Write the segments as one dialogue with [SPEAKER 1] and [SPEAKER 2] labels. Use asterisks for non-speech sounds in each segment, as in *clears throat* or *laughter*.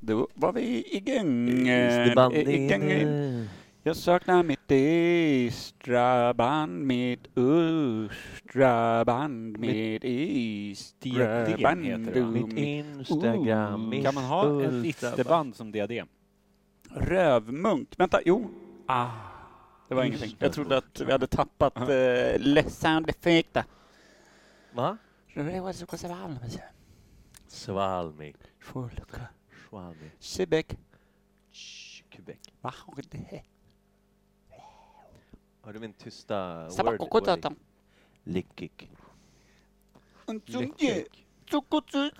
[SPEAKER 1] Då var vi igång.
[SPEAKER 2] Is the band
[SPEAKER 1] igång.
[SPEAKER 2] in?
[SPEAKER 1] Jag saknar mitt östra band, mitt östra band, mitt E östra
[SPEAKER 3] diadem
[SPEAKER 1] band.
[SPEAKER 3] heter det, va?
[SPEAKER 2] Mitt Instagram,
[SPEAKER 1] Mm. Ooh.
[SPEAKER 2] mitt
[SPEAKER 3] Kan man ha ett
[SPEAKER 2] Ultra-
[SPEAKER 3] isterband som diadem?
[SPEAKER 1] Rövmunk. Vänta, jo. E- Ah, det var ingenting. Jag trodde att vi hade tappat uh sound effect.
[SPEAKER 2] Va?
[SPEAKER 1] Det var så konstigt.
[SPEAKER 2] Svalmi.
[SPEAKER 1] Sjölucka.
[SPEAKER 2] Svalmi.
[SPEAKER 1] Sibek.
[SPEAKER 2] Shh, Quebec.
[SPEAKER 1] Vad har det?
[SPEAKER 2] Har du min tysta word?
[SPEAKER 1] Sabakokotatan.
[SPEAKER 2] Lickik.
[SPEAKER 1] Unsunje. Tsukotsu.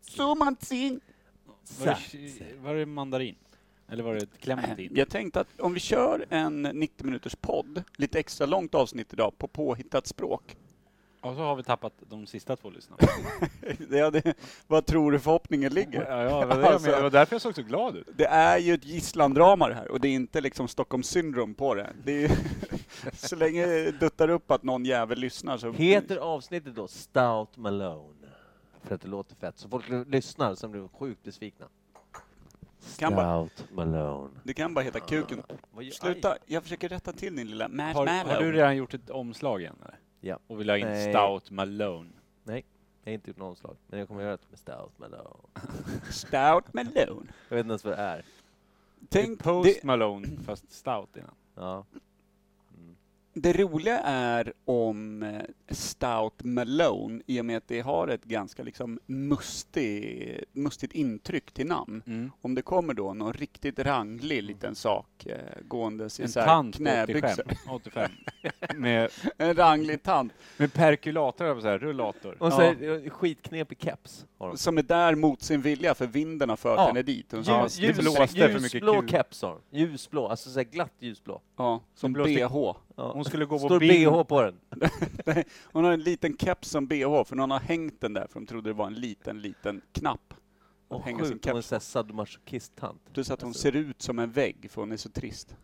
[SPEAKER 1] Sumansin.
[SPEAKER 3] Var det, var det mandarin? Eller var det *clears throat* clementin?
[SPEAKER 1] Jag tänkte att om vi kör en 90 minuters podd, lite extra långt avsnitt idag, på påhittat språk. *laughs*
[SPEAKER 3] Och så har vi tappat de sista två lyssnarna.
[SPEAKER 1] Ja, det, vad tror du förhoppningen ligger?
[SPEAKER 3] ja, ja, det, var det, jag
[SPEAKER 1] Alltså.
[SPEAKER 3] menade. det var därför jag såg så glad ut.
[SPEAKER 1] Det är ju ett gisslandrama det här och det är inte liksom Stockholms syndrom på det. det är ju *laughs* så länge det duttar upp att någon jävel lyssnar så...
[SPEAKER 2] Heter avsnittet då Stout Malone? För att det låter fett. Så folk l- lyssnar sen blir de sjukt besvikna.
[SPEAKER 1] Kan bara-
[SPEAKER 2] Stout Malone.
[SPEAKER 1] Det kan bara heta Kuken.
[SPEAKER 2] Vad gör-
[SPEAKER 1] Sluta, jag försöker rätta till din lilla Matt
[SPEAKER 3] Har, har du
[SPEAKER 1] Malone.
[SPEAKER 3] redan gjort ett omslag igen eller?
[SPEAKER 2] Ja.
[SPEAKER 3] Och vill ha in
[SPEAKER 2] Nej.
[SPEAKER 3] Stout Malone?
[SPEAKER 2] Aj, Jag har inte gjort något omslag, men jag kommer göra det med Stout Malone.
[SPEAKER 1] Stout Malone.
[SPEAKER 2] Jag vet inte ens vad det är.
[SPEAKER 1] Tänk,
[SPEAKER 3] Post
[SPEAKER 1] det,
[SPEAKER 3] Malone, fast Stout innan.
[SPEAKER 2] Ja. Mm.
[SPEAKER 1] det roliga är om eh, Stout Malone, i och med att det har ett ganska liksom mustig, mustigt intryck till namn.
[SPEAKER 3] Mm.
[SPEAKER 1] Om det kommer då någon riktigt ranglig
[SPEAKER 2] Mm.
[SPEAKER 1] liten sak eh, gåendes i
[SPEAKER 3] En
[SPEAKER 1] så här
[SPEAKER 3] tant på
[SPEAKER 1] knäbyxor.
[SPEAKER 3] 85. *laughs* 85. med,
[SPEAKER 1] *laughs* En ranglig tant.
[SPEAKER 3] med perkulator, eller så här, rullator.
[SPEAKER 2] Och så
[SPEAKER 1] Ja.
[SPEAKER 2] är- skitknepig keps har de.
[SPEAKER 1] Som är där mot sin vilja för vinden har fört
[SPEAKER 2] Ja.
[SPEAKER 1] henne dit. Och
[SPEAKER 3] Ja,
[SPEAKER 1] så-
[SPEAKER 3] det blåste för mycket
[SPEAKER 2] ljusblå
[SPEAKER 3] kul.
[SPEAKER 2] keps har de. Ljusblå, alltså så här glatt ljusblå.
[SPEAKER 1] ja, som
[SPEAKER 3] blåste-
[SPEAKER 1] bh.
[SPEAKER 2] Ja.
[SPEAKER 3] Hon skulle gå på
[SPEAKER 2] Står
[SPEAKER 3] bild.
[SPEAKER 2] bh på den.
[SPEAKER 1] Hon har en liten keps som bh för någon har hängt den där för de trodde det var en liten, liten knapp.
[SPEAKER 2] Och
[SPEAKER 1] hänger sin
[SPEAKER 2] sjukt, hon är en
[SPEAKER 1] keps
[SPEAKER 2] sån här sadomasochist-tant.
[SPEAKER 1] Plus att hon
[SPEAKER 2] Alltså.
[SPEAKER 1] ser ut som en vägg för hon är så trist.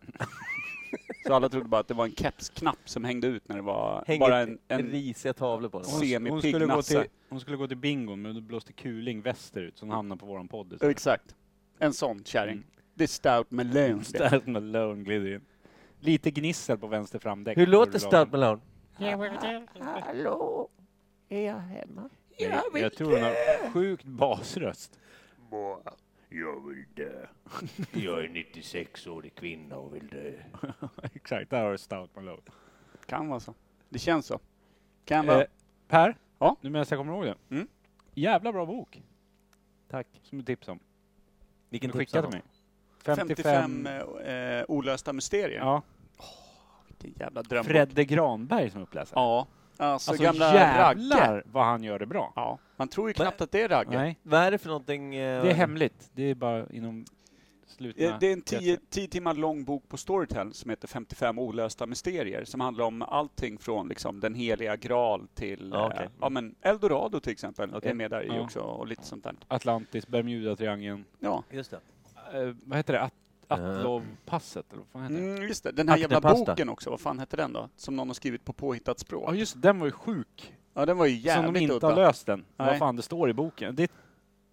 [SPEAKER 3] *laughs*
[SPEAKER 1] så alla trodde bara att det var en kepsknapp som hängde ut när det var
[SPEAKER 2] Hänger
[SPEAKER 1] bara en, en
[SPEAKER 2] risiga tavlor på den.
[SPEAKER 1] Oj.
[SPEAKER 3] Hon, hon,
[SPEAKER 1] Semipigg
[SPEAKER 3] skulle gå
[SPEAKER 1] nasse.
[SPEAKER 3] till, hon skulle gå till bingo men då blåste kuling västerut så hon hamnade på våran podd. istället.
[SPEAKER 1] Exakt. En sån kärring.
[SPEAKER 3] Mm.
[SPEAKER 1] Det är Stout Malone. det.
[SPEAKER 3] *laughs* Stout Malone glider in. Lite gnissel på vänster framdäck.
[SPEAKER 2] Hur
[SPEAKER 3] på
[SPEAKER 2] låter
[SPEAKER 3] rullatorn.
[SPEAKER 2] Stout Malone?
[SPEAKER 4] Hallå, är jag hemma?
[SPEAKER 3] Nej, jag tror hon har sjukt basröst. *laughs*
[SPEAKER 5] Jag vill dö. Jag är 96-årig kvinna och vill dö.
[SPEAKER 3] Exakt, där har du Stout Malone.
[SPEAKER 1] Kan vara så. Det känns så. Kan vara.
[SPEAKER 3] Eh, per,
[SPEAKER 1] Ja?
[SPEAKER 3] nu medan jag kommer ihåg det.
[SPEAKER 1] Mm.
[SPEAKER 3] Jävla bra bok
[SPEAKER 2] Tack.
[SPEAKER 3] som du tipsade om.
[SPEAKER 2] Vilken
[SPEAKER 3] Du
[SPEAKER 2] tipsade
[SPEAKER 3] skickade
[SPEAKER 2] hon?
[SPEAKER 3] mig.
[SPEAKER 1] 55 eh, olösta mysterier.
[SPEAKER 3] Ja.
[SPEAKER 1] Vilken jävla drömbok.
[SPEAKER 3] Fredde Granberg som uppläsare.
[SPEAKER 1] Ja. Alltså,
[SPEAKER 3] Alltså
[SPEAKER 1] gamla
[SPEAKER 3] jävlar
[SPEAKER 1] raggare.
[SPEAKER 3] vad han gör det bra.
[SPEAKER 1] Ja. Man tror ju knappt att det är ragge.
[SPEAKER 3] Nej,
[SPEAKER 2] Vad är det för någonting? eh,
[SPEAKER 3] det är hemligt. Det är bara inom slutna...
[SPEAKER 1] Eh, Det är en tio,
[SPEAKER 3] kretsar.
[SPEAKER 1] tio timmar lång bok på Storytel som heter 55 olösta mysterier som handlar om allting från liksom den heliga graal till
[SPEAKER 2] Ja,
[SPEAKER 1] eh,
[SPEAKER 2] okej.
[SPEAKER 1] ja, men Eldorado till exempel
[SPEAKER 2] Okej.
[SPEAKER 1] är med där i
[SPEAKER 3] Ja.
[SPEAKER 1] också och lite sånt där.
[SPEAKER 3] Atlantis, Bermudatriangeln.
[SPEAKER 1] Ja,
[SPEAKER 2] Just det.
[SPEAKER 3] Eh, vad heter det? At Atlovpasset, eller vad fan heter det?
[SPEAKER 1] mm, just det. Den här jävla
[SPEAKER 2] Aktepasta.
[SPEAKER 1] boken också, vad fan hette den då? Som någon har skrivit på påhittat språk.
[SPEAKER 3] Ja just det, den var ju sjuk.
[SPEAKER 1] Ja, den var ju
[SPEAKER 3] som de
[SPEAKER 1] jävligt
[SPEAKER 3] inte har
[SPEAKER 1] udda.
[SPEAKER 3] löst den.
[SPEAKER 1] Nej.
[SPEAKER 3] Vad fan det står i boken. Det är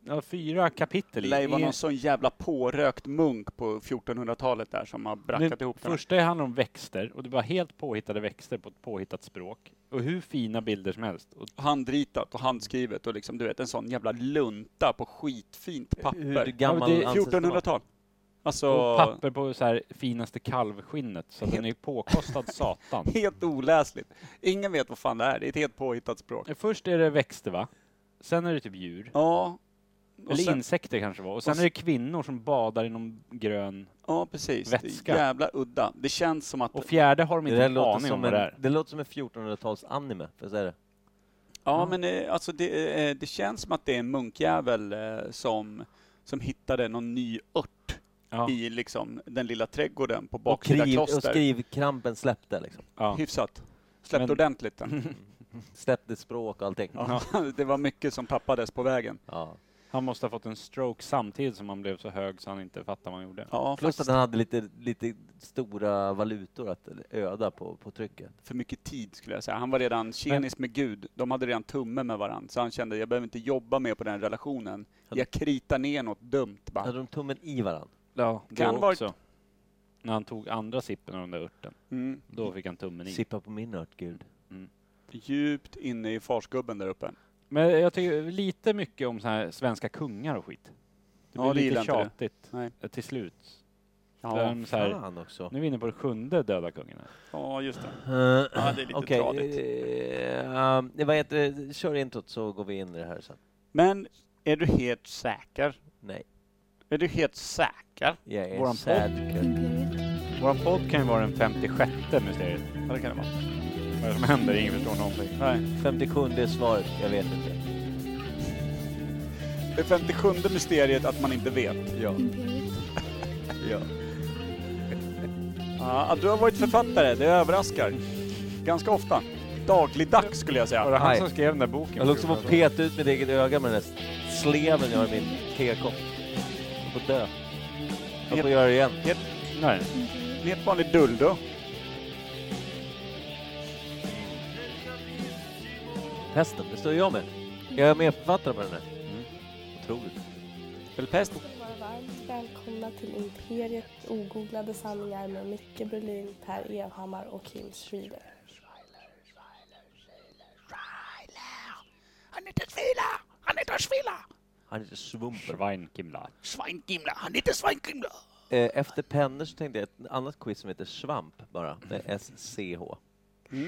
[SPEAKER 3] ja, fyra kapitel
[SPEAKER 1] Det
[SPEAKER 3] i.
[SPEAKER 1] lär ju vara
[SPEAKER 3] I-
[SPEAKER 1] någon sån jävla pårökt munk på 1400-talet där som har brackat
[SPEAKER 3] det
[SPEAKER 1] ihop den.
[SPEAKER 3] första handlar om växter och det var helt påhittade växter på ett påhittat språk. Och hur fina bilder som helst. Och
[SPEAKER 1] Handritat och handskrivet och liksom, du vet, en sån jävla lunta på skitfint
[SPEAKER 2] Hur
[SPEAKER 1] papper.
[SPEAKER 2] gammal
[SPEAKER 3] Ja, men det-
[SPEAKER 2] anses den vara?
[SPEAKER 1] 1400-tal.
[SPEAKER 3] och
[SPEAKER 1] Alltså,
[SPEAKER 3] papper Alltså, på så här finaste kalvskinnet, så den är
[SPEAKER 1] *laughs*
[SPEAKER 3] påkostad satan.
[SPEAKER 1] helt oläsligt. Ingen vet vad fan det är. Det är ett helt påhittat språk.
[SPEAKER 3] Först är det växter va? Sen är det typ djur.
[SPEAKER 1] Ja. Och
[SPEAKER 3] Eller
[SPEAKER 1] sen,
[SPEAKER 3] insekter kanske det var. Och
[SPEAKER 1] och
[SPEAKER 3] sen
[SPEAKER 1] s-
[SPEAKER 3] är det kvinnor som badar i någon grön...
[SPEAKER 1] ja, precis. Det
[SPEAKER 3] vätska.
[SPEAKER 1] är jävla udda. Det känns som att...
[SPEAKER 3] Och fjärde har de
[SPEAKER 2] Det,
[SPEAKER 3] inte
[SPEAKER 2] där
[SPEAKER 3] en
[SPEAKER 2] låter
[SPEAKER 3] aning om
[SPEAKER 2] som
[SPEAKER 3] vad det är.
[SPEAKER 2] en, det låter som en 1400-tals anime, får jag säga det?
[SPEAKER 1] ja, men eh, alltså det, eh, det känns som att det är en munkjävel eh, som, som hittade någon ny ört
[SPEAKER 3] Ja.
[SPEAKER 1] i liksom den lilla trädgården på
[SPEAKER 2] Och,
[SPEAKER 1] baksida
[SPEAKER 2] kriv, och
[SPEAKER 1] kloster.
[SPEAKER 2] skrivkrampen släppte liksom.
[SPEAKER 3] Ja.
[SPEAKER 1] Hyfsat. Släppte
[SPEAKER 3] Men-
[SPEAKER 1] ordentligt
[SPEAKER 3] *laughs*
[SPEAKER 1] den.
[SPEAKER 2] Släppte språk och allting.
[SPEAKER 1] Ja. det var mycket som tappades på vägen.
[SPEAKER 2] Ja.
[SPEAKER 3] Han måste ha fått en stroke samtidigt som han blev så hög så han inte fattade vad han gjorde.
[SPEAKER 1] Ja,
[SPEAKER 2] Plus
[SPEAKER 1] faktiskt
[SPEAKER 2] att han hade lite, lite stora valutor att öda på, på trycket.
[SPEAKER 1] för mycket tid skulle jag säga. Han var redan tjenis med Gud. De hade redan tumme med varandra. Så han kände, jag behöver inte jobba mer på den relationen. Jag kritar ner något dumt bara.
[SPEAKER 2] Hade de tummen i varann?
[SPEAKER 3] Ja, det
[SPEAKER 1] Kan
[SPEAKER 3] också. När han tog andra sippen av den där örten,
[SPEAKER 1] Mm.
[SPEAKER 3] då fick han tummen i.
[SPEAKER 2] Sippa på min ört, gud.
[SPEAKER 1] Djupt inne i farsgubben där uppe.
[SPEAKER 3] Men jag tycker lite mycket om så här svenska kungar och skit. Det
[SPEAKER 1] Ja, det
[SPEAKER 3] blir
[SPEAKER 1] gillar
[SPEAKER 3] lite
[SPEAKER 1] inte det.
[SPEAKER 3] tjatigt
[SPEAKER 1] Nej.
[SPEAKER 3] eh, till slut.
[SPEAKER 1] Ja,
[SPEAKER 3] Vem så här,
[SPEAKER 2] Fan också.
[SPEAKER 3] nu är vi inne på det sjunde döda kungen. här.
[SPEAKER 1] ja just det. Ja,
[SPEAKER 2] Eh,
[SPEAKER 1] det är lite
[SPEAKER 2] Okej,
[SPEAKER 1] tradigt.
[SPEAKER 2] eh, um, vad heter det? Kör introt så går vi in i det här sen.
[SPEAKER 1] Men är du helt säker?
[SPEAKER 2] Nej,
[SPEAKER 1] Är du helt säker?
[SPEAKER 2] jag är
[SPEAKER 3] Våran
[SPEAKER 2] sad kid.
[SPEAKER 3] Vår podd kan ju vara den 56 mysteriet.
[SPEAKER 1] Ja, det kan det vara.
[SPEAKER 3] Vad är det som händer? Ingen förstår någonting.
[SPEAKER 1] Nej.
[SPEAKER 2] 57 är svaret, jag vet inte.
[SPEAKER 1] Det 57 mysteriet att man inte vet.
[SPEAKER 2] Ja.
[SPEAKER 1] *laughs*
[SPEAKER 2] ja.
[SPEAKER 1] Ja, att du har varit författare, det överraskar. Ganska ofta. Dagligdags skulle jag
[SPEAKER 3] Var
[SPEAKER 1] säga.
[SPEAKER 3] det han
[SPEAKER 2] Aj.
[SPEAKER 3] som skrev den där boken?
[SPEAKER 2] Jag höll också på att peta ut mitt eget öga med den där sleven jag har i min tekopp. Jag får dö. Jag får göra det igen.
[SPEAKER 3] Nej.
[SPEAKER 1] En helt vanlig Duldo.
[SPEAKER 2] Hästen, det står jag med. Jag är medförfattare på den här. Otroligt.
[SPEAKER 1] Ölpest.
[SPEAKER 6] vara varmt välkomna till Imperiet ogooglade sanningar med Micke Berlin, Per Evhammar och Kim Schreeder.
[SPEAKER 5] Han heter Svila! Han heter Svila!
[SPEAKER 2] Han heter Svumper.
[SPEAKER 3] Schweinkimla.
[SPEAKER 5] Svainkimla! Han heter Svainkimla!
[SPEAKER 2] Eh, Efter pennor så tänkte jag ett annat quiz som heter Svamp bara. Det är S-C-H.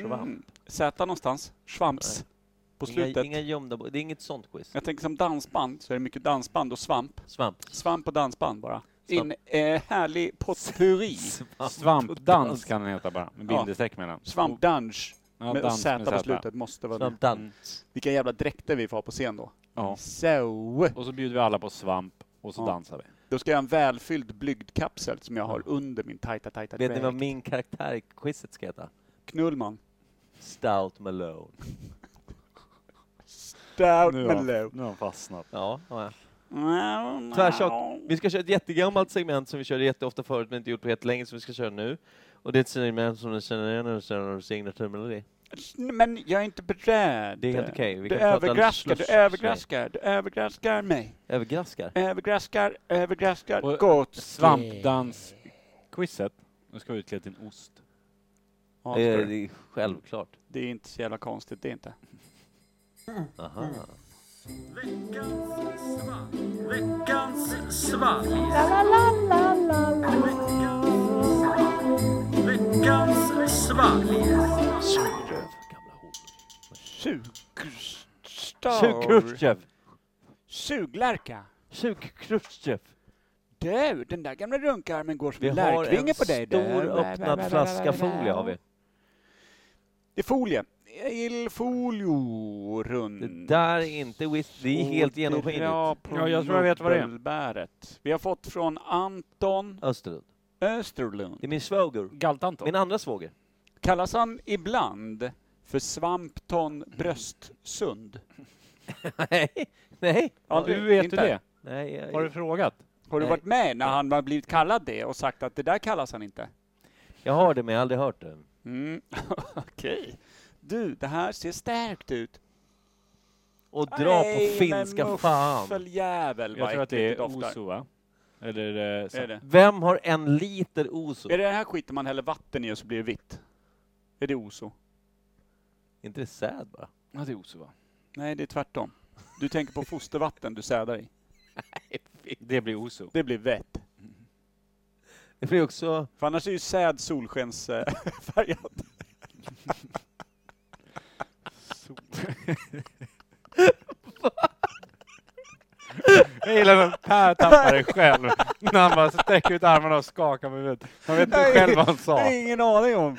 [SPEAKER 2] Svamp.
[SPEAKER 1] Z någonstans. Svamps. Mm. På
[SPEAKER 2] Inga,
[SPEAKER 1] slutet.
[SPEAKER 2] inga gömda bo- Det är inget sånt quiz.
[SPEAKER 1] Jag tänker som dansband så är det mycket dansband och svamp. *laughs*
[SPEAKER 2] Svamp.
[SPEAKER 1] Svamp och dansband bara.
[SPEAKER 2] Svamp.
[SPEAKER 1] En eh, härlig potpurri.
[SPEAKER 3] Svampdans kan den heta bara, med
[SPEAKER 1] Ja.
[SPEAKER 3] bindestreck mellan.
[SPEAKER 1] Svampdans.
[SPEAKER 3] Ja,
[SPEAKER 1] med
[SPEAKER 3] dans
[SPEAKER 1] Z
[SPEAKER 3] med
[SPEAKER 1] på
[SPEAKER 3] Z.
[SPEAKER 1] slutet måste vara med.
[SPEAKER 2] Svampdans.
[SPEAKER 1] Vilka jävla dräkter vi får ha på scen då.
[SPEAKER 3] Ja.
[SPEAKER 1] Så.
[SPEAKER 3] Och så bjuder vi alla på svamp och så
[SPEAKER 1] Ja.
[SPEAKER 3] dansar vi.
[SPEAKER 1] Då ska jag ha en välfylld blygdkapsel som jag har under min tajta, tajta
[SPEAKER 2] Vet ni
[SPEAKER 1] dräkt.
[SPEAKER 2] vad min karaktär i quizet ska heta?
[SPEAKER 1] Knullman.
[SPEAKER 2] Stout Malone.
[SPEAKER 1] Stout
[SPEAKER 3] Nu har-
[SPEAKER 1] Malone.
[SPEAKER 3] Nu har han fastnat.
[SPEAKER 2] Ja, ja. Tvärtjock.
[SPEAKER 1] Tvärtjock.
[SPEAKER 2] Vi ska köra ett jättegammalt segment som vi körde jätteofta förut men inte gjort på jättelänge som vi ska köra nu. Och det är ett segment som ni känner igen och känner och signaturmelodi.
[SPEAKER 1] Men jag är inte beredd.
[SPEAKER 2] Det är helt okej. Vi
[SPEAKER 1] Du
[SPEAKER 2] kan prata
[SPEAKER 1] övergraskar, du
[SPEAKER 2] sluss-
[SPEAKER 1] övergraskar, du övergraskar mig.
[SPEAKER 2] Övergraskar.
[SPEAKER 1] Övergraskar, övergraskar.
[SPEAKER 3] Och-
[SPEAKER 1] Gott.
[SPEAKER 3] Svampdansquizet. Nu ska vi utklädd till en ost.
[SPEAKER 1] Ja, det,
[SPEAKER 2] Eh,
[SPEAKER 1] är-
[SPEAKER 2] det är självklart.
[SPEAKER 1] det är inte så jävla konstigt, det är inte.
[SPEAKER 2] Aha. Tjuv, gamla hon. Tjuv
[SPEAKER 1] Sugstar.
[SPEAKER 2] Krustjev!
[SPEAKER 1] Suglärka.
[SPEAKER 2] Tjuv Krustjev!
[SPEAKER 1] Du, den där gamla runkarmen går som
[SPEAKER 2] Vi
[SPEAKER 1] en
[SPEAKER 2] har
[SPEAKER 1] lärkvinge
[SPEAKER 2] en
[SPEAKER 1] på dig.
[SPEAKER 2] stor öppnad flaska folie har vi.
[SPEAKER 1] Det är folie. Il folio rund.
[SPEAKER 2] Det där är inte whisky, det är helt genomskinligt.
[SPEAKER 3] Ja, jag tror jag vet vad det är.
[SPEAKER 1] Nubbelbäret. Vi har fått från Anton
[SPEAKER 2] Österlund. Det
[SPEAKER 1] Österlund.
[SPEAKER 2] är min svåger.
[SPEAKER 3] Galtanton.
[SPEAKER 2] Min andra svåger.
[SPEAKER 1] *laughs* Kallas han ibland för Svampton Bröstsund?
[SPEAKER 2] Nej, nej,
[SPEAKER 1] Ja,
[SPEAKER 3] Du vet ju det.
[SPEAKER 2] nej. jag-
[SPEAKER 3] Har du frågat?
[SPEAKER 1] Har du
[SPEAKER 2] Nej.
[SPEAKER 1] varit med när han har blivit kallad det och sagt att det där kallas han inte?
[SPEAKER 2] Jag har det men jag har aldrig hört det.
[SPEAKER 1] Mm. *laughs* Okej. Du, det här ser stärkt ut.
[SPEAKER 2] Och dra på
[SPEAKER 1] Nej, men
[SPEAKER 2] finska, fan.
[SPEAKER 1] muffeljävel
[SPEAKER 3] Jag
[SPEAKER 1] vad
[SPEAKER 3] tror att det är
[SPEAKER 1] doftar.
[SPEAKER 3] oso, va? Eller... eh, sa-
[SPEAKER 1] Är det?
[SPEAKER 2] Vem har en liter Ouzo?
[SPEAKER 1] är det den här skiten man häller vatten i och så blir det vitt? Är det oso?
[SPEAKER 2] inte det säd bara?
[SPEAKER 3] Ja, det är oso, va?
[SPEAKER 1] Nej, det är tvärtom. Du tänker på fostervatten du sädar i.
[SPEAKER 3] Det blir oso.
[SPEAKER 1] Det blir vett.
[SPEAKER 2] Det blir också... *laughs*
[SPEAKER 1] För annars är ju säd solskensfärgat.
[SPEAKER 3] Jag gillar när Per tappar det själv. När han bara sträcker ut armarna och skakar på huvudet. Han vet inte
[SPEAKER 1] Nej.
[SPEAKER 3] själv vad han
[SPEAKER 1] Det
[SPEAKER 3] sa.
[SPEAKER 1] har jag ingen aning om.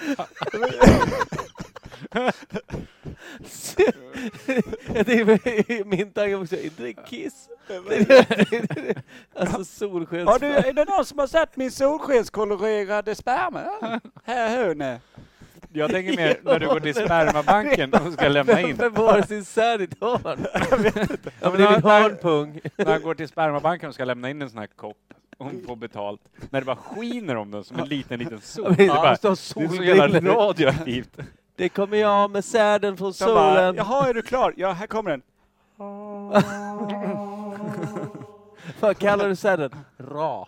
[SPEAKER 2] det är min tanke också, inte det
[SPEAKER 1] *laughs*
[SPEAKER 2] kiss? Det är- det är- det är- alltså solskens...
[SPEAKER 1] Har du, är det någon som har sett min solskenskolorerade sperma? Här hörne.
[SPEAKER 3] Jag tänker mer när du går till spermabanken och ska lämna in.
[SPEAKER 1] *laughs*
[SPEAKER 2] Vem var sin sär *laughs* i ditt hörn? Ja, men det är
[SPEAKER 3] Men
[SPEAKER 2] din
[SPEAKER 3] han-
[SPEAKER 2] hörnpung.
[SPEAKER 3] När han går till spermabanken och ska lämna in en sån här kopp och hon får betalt, när det bara skiner om den som en liten, liten sol. Det är, bara,
[SPEAKER 2] måste ha
[SPEAKER 3] det är så jävla
[SPEAKER 2] solbrillor.
[SPEAKER 3] radioaktivt.
[SPEAKER 2] Det kommer jag med säden från
[SPEAKER 1] Jag bara,
[SPEAKER 2] solen.
[SPEAKER 1] Jaha, är du klar? Ja, här kommer den.
[SPEAKER 2] Vad kallar du säden? Ra.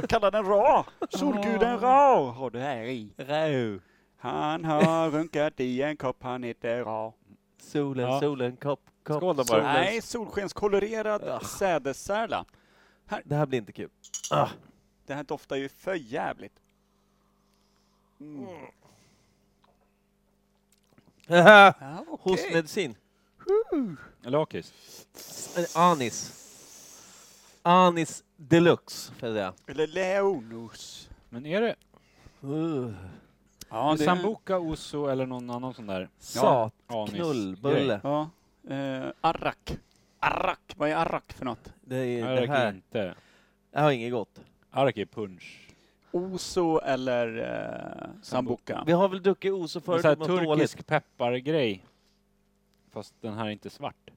[SPEAKER 1] Jag kallar den Ra. Solguden Ra har du här i.
[SPEAKER 2] Rau.
[SPEAKER 1] Han har runkat i en kopp, han heter Ra.
[SPEAKER 2] Solen,
[SPEAKER 3] Ja.
[SPEAKER 2] solen, kopp, kopp.
[SPEAKER 3] Skål då bara.
[SPEAKER 2] solen.
[SPEAKER 1] Nej, solskenskolorerad
[SPEAKER 2] Ah.
[SPEAKER 1] sädessärla.
[SPEAKER 2] Det här blir inte
[SPEAKER 3] *laughs*
[SPEAKER 2] kul.
[SPEAKER 1] Det här doftar ju för jävligt. Ah,
[SPEAKER 2] Hostmedicin.
[SPEAKER 3] Lakis.
[SPEAKER 2] Eh, Anis. Anis deluxe, får jag säga.
[SPEAKER 1] Eller Leonus.
[SPEAKER 3] Men är det
[SPEAKER 2] Uh.
[SPEAKER 1] Ja,
[SPEAKER 3] Sambuca, Oso eller någon annan sån där
[SPEAKER 2] Sat,
[SPEAKER 3] anis- grej?
[SPEAKER 2] knullbulle.
[SPEAKER 1] Ja. Eh, arrak. Arrak. Vad är arrak för något?
[SPEAKER 2] Det, är, det
[SPEAKER 3] Ark är
[SPEAKER 2] här
[SPEAKER 3] inte.
[SPEAKER 2] det här var inget gott.
[SPEAKER 3] Ark är punch.
[SPEAKER 1] Oso eller eh, sambuca.
[SPEAKER 2] Vi har väl druckit oso
[SPEAKER 3] Förut,
[SPEAKER 2] förut,
[SPEAKER 3] så här
[SPEAKER 2] det var dåligt.
[SPEAKER 3] turkisk peppargrej. Fast den här är inte svart.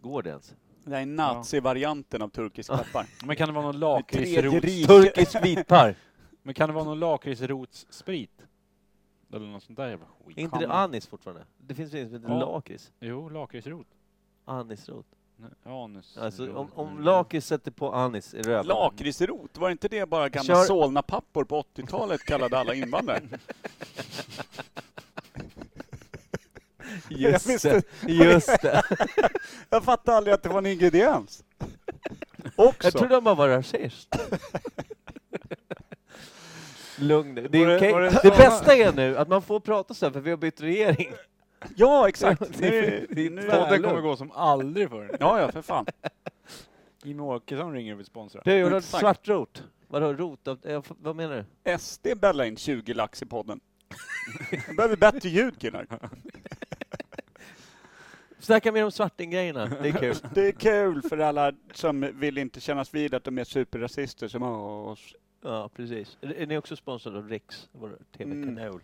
[SPEAKER 2] Går det ens?
[SPEAKER 1] Det här är nazi-varianten av turkisk peppar.
[SPEAKER 3] Men kan det vara någon
[SPEAKER 1] Tredje
[SPEAKER 3] lakritsrots...
[SPEAKER 1] riket.
[SPEAKER 2] Turkisk vitpar.
[SPEAKER 3] Men kan det vara någon lakritsrotssprit? Eller något sånt där jävla
[SPEAKER 2] *laughs*
[SPEAKER 3] skit.
[SPEAKER 2] är inte det
[SPEAKER 1] Kan man.
[SPEAKER 2] anis fortfarande? Det finns väl inget som heter
[SPEAKER 3] Ja.
[SPEAKER 2] lakrits?
[SPEAKER 3] Jo, lakritsrot.
[SPEAKER 2] Anisrot.
[SPEAKER 3] Nej, Anus.
[SPEAKER 2] Alltså, om, om
[SPEAKER 3] Mm.
[SPEAKER 2] lakrits sätter på anis i röven.
[SPEAKER 1] Lakritsrot, var inte det bara gamla
[SPEAKER 2] Kör-
[SPEAKER 1] Solna-pappor på 80-talet kallade alla invandrare? Jag
[SPEAKER 2] Just
[SPEAKER 1] visste-
[SPEAKER 2] det. Just *laughs* det.
[SPEAKER 1] *laughs* Jag fattade aldrig att det var en ingrediens.
[SPEAKER 2] Jag
[SPEAKER 1] Också.
[SPEAKER 2] trodde han bara var rasist. *laughs* Lugn nu. Det, är
[SPEAKER 3] Var det-
[SPEAKER 2] okej.
[SPEAKER 3] var det
[SPEAKER 2] det,
[SPEAKER 3] samma-
[SPEAKER 2] bästa är nu att man får prata så här för vi har bytt *laughs* regering.
[SPEAKER 1] Ja, exakt.
[SPEAKER 2] Ja, det
[SPEAKER 1] Nu,
[SPEAKER 2] är- det är
[SPEAKER 1] nu
[SPEAKER 2] två-
[SPEAKER 1] är
[SPEAKER 3] Podden
[SPEAKER 1] det...
[SPEAKER 3] kommer gå som aldrig förr.
[SPEAKER 1] Ja, ja, för fan.
[SPEAKER 3] Jimmie Åkesson ringer och vill sponsra.
[SPEAKER 2] Du har gjort
[SPEAKER 1] Exakt.
[SPEAKER 2] svartrot. Vadå rot? av- eh, f- Vad menar du?
[SPEAKER 1] SD bällar in 20 lax i podden. Vi behöver bättre ljud killar.
[SPEAKER 2] Snacka mer om svartinggrejerna. Det är *laughs* kul.
[SPEAKER 1] Det är kul för alla som vill inte kännas vid att de är superrasister som oss.
[SPEAKER 2] Ja, precis. Är- Är ni också sponsrade av Riks, vår tv-kanal?
[SPEAKER 1] Jag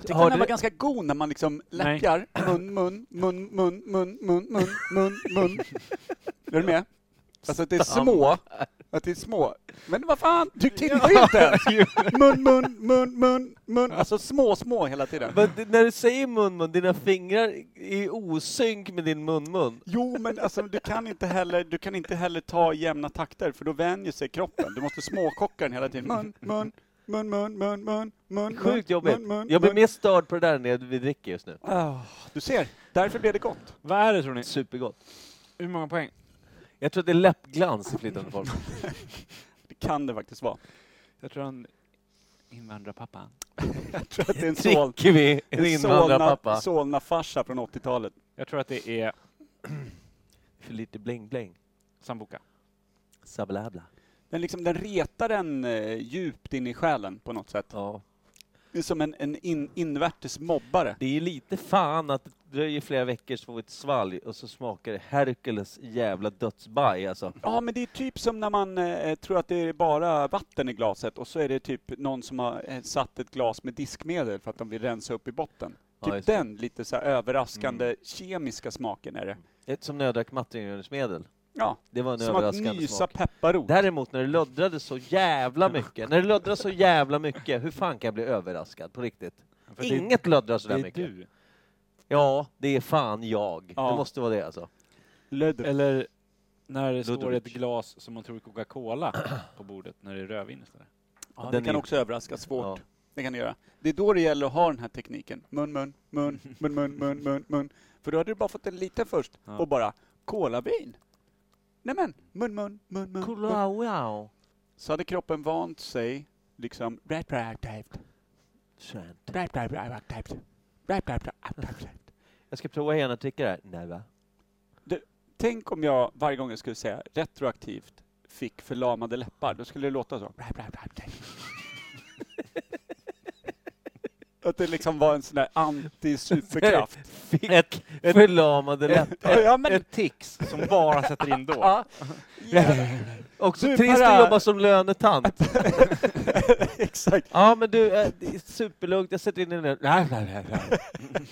[SPEAKER 1] tycker
[SPEAKER 2] Har
[SPEAKER 1] den här
[SPEAKER 2] du-
[SPEAKER 1] var ganska god när man liksom läppjar. Mun, mun, mun, mun, mun, mun, mun, mun, mun. Är du med? Alltså att det är små. Att det är små. Men vad fan, du tittar ju inte
[SPEAKER 2] *laughs*
[SPEAKER 1] ens! Mun, mun, mun, mun, mun. Alltså små, små hela tiden.
[SPEAKER 2] Men d- när du säger mun-mun, dina fingrar är i osynk med din mun-mun.
[SPEAKER 1] Jo, men alltså, du, kan inte heller, du kan inte heller ta jämna takter, för då vänjer sig kroppen. Du måste småkocka den hela tiden. Mun, mun, mun, mun, mun, mun, mun,
[SPEAKER 2] Sjukt
[SPEAKER 1] mun,
[SPEAKER 2] jobbigt.
[SPEAKER 1] mun, mun,
[SPEAKER 2] Jag blir
[SPEAKER 1] mun.
[SPEAKER 2] mer störd på det där när vi dricker just nu.
[SPEAKER 1] Ah, du ser, därför blev det gott.
[SPEAKER 3] Vad är det tror ni?
[SPEAKER 2] Supergott.
[SPEAKER 3] Hur många poäng?
[SPEAKER 2] Jag tror att det är läppglans i flytande form.
[SPEAKER 1] Det kan det faktiskt vara.
[SPEAKER 3] Jag tror han... Invandrarpappan.
[SPEAKER 1] *laughs* Jag tror att *laughs* det är en sol.
[SPEAKER 2] Dricker vi en
[SPEAKER 1] En
[SPEAKER 2] invandrarpappa?
[SPEAKER 1] Solna-farsa från 80-talet.
[SPEAKER 3] Jag tror att det är
[SPEAKER 2] För lite bling-bling.
[SPEAKER 3] sambuca.
[SPEAKER 2] Sablabla.
[SPEAKER 1] Den, liksom, den retar en eh, djupt in i själen på något sätt.
[SPEAKER 2] Ja.
[SPEAKER 1] Det är som en, en in, invärtes mobbare.
[SPEAKER 2] Det är ju lite fan att det dröjer flera veckor så får vi ett svalg och så smakar det Hercules jävla dödsbaj alltså.
[SPEAKER 1] Ja, men det är typ som när man eh, tror att det är bara vatten i glaset och så är det typ någon som har eh, satt ett glas med diskmedel för att de vill rensa upp i botten.
[SPEAKER 2] Ja,
[SPEAKER 1] Typ
[SPEAKER 2] just det. Mm.
[SPEAKER 1] den lite så här överraskande kemiska smaken är det.
[SPEAKER 2] Ett som när jag drack mattingöringsmedel.
[SPEAKER 1] Ja,
[SPEAKER 2] Det var en
[SPEAKER 1] som att
[SPEAKER 2] överraskande
[SPEAKER 1] nysa
[SPEAKER 2] smak.
[SPEAKER 1] pepparrot.
[SPEAKER 2] Däremot när det löddrade så jävla mycket, när det löddrade så jävla mycket, hur fan kan jag bli överraskad på riktigt? Inget löddrar så
[SPEAKER 3] Det
[SPEAKER 2] där
[SPEAKER 3] är
[SPEAKER 2] mycket.
[SPEAKER 3] du.
[SPEAKER 2] Ja, det är fan jag.
[SPEAKER 1] Ja.
[SPEAKER 2] Det måste vara det alltså.
[SPEAKER 1] Lödder.
[SPEAKER 3] Eller när det står
[SPEAKER 2] Ludovic.
[SPEAKER 3] ett glas som man tror är Coca-Cola på bordet när det är rödvin istället.
[SPEAKER 1] Ja, det
[SPEAKER 2] den
[SPEAKER 1] kan
[SPEAKER 2] är-
[SPEAKER 1] också överraska svårt.
[SPEAKER 2] Ja.
[SPEAKER 1] Det kan det göra. Det är då det gäller att ha den här tekniken. Mun, mun, mun, mun, mun, mun, mun, mun. För då hade du bara fått en liten först
[SPEAKER 3] Ja.
[SPEAKER 1] och bara kolavin. Nej men, mun, mun, mun, mun. mun.
[SPEAKER 2] Kolla, wow.
[SPEAKER 1] Så hade kroppen vant sig liksom rätt, rätt, rätt,
[SPEAKER 2] Skönt.
[SPEAKER 1] rätt, rätt, rätt, rätt, rätt, rätt, rätt, rätt.
[SPEAKER 2] Jag ska prova igen att dricka det här. Nej va?
[SPEAKER 1] Tänk om jag varje gång jag skulle säga retroaktivt fick förlamade läppar, då skulle det låta så.
[SPEAKER 2] *laughs*
[SPEAKER 1] Att det liksom var en sån där anti-superkraft.
[SPEAKER 2] fick ett förlamade läppar.
[SPEAKER 1] Ja, men,
[SPEAKER 3] Ett tics som bara
[SPEAKER 2] *laughs*
[SPEAKER 3] sätter in då.
[SPEAKER 1] ja, ja,
[SPEAKER 2] Också
[SPEAKER 1] Du,
[SPEAKER 2] trist
[SPEAKER 1] para-
[SPEAKER 2] att jobba som lönetant.
[SPEAKER 1] exakt.
[SPEAKER 2] Ja, men du, eh, det är superlugnt. Jag sätter in en lön. Nej, nej, nej, nej.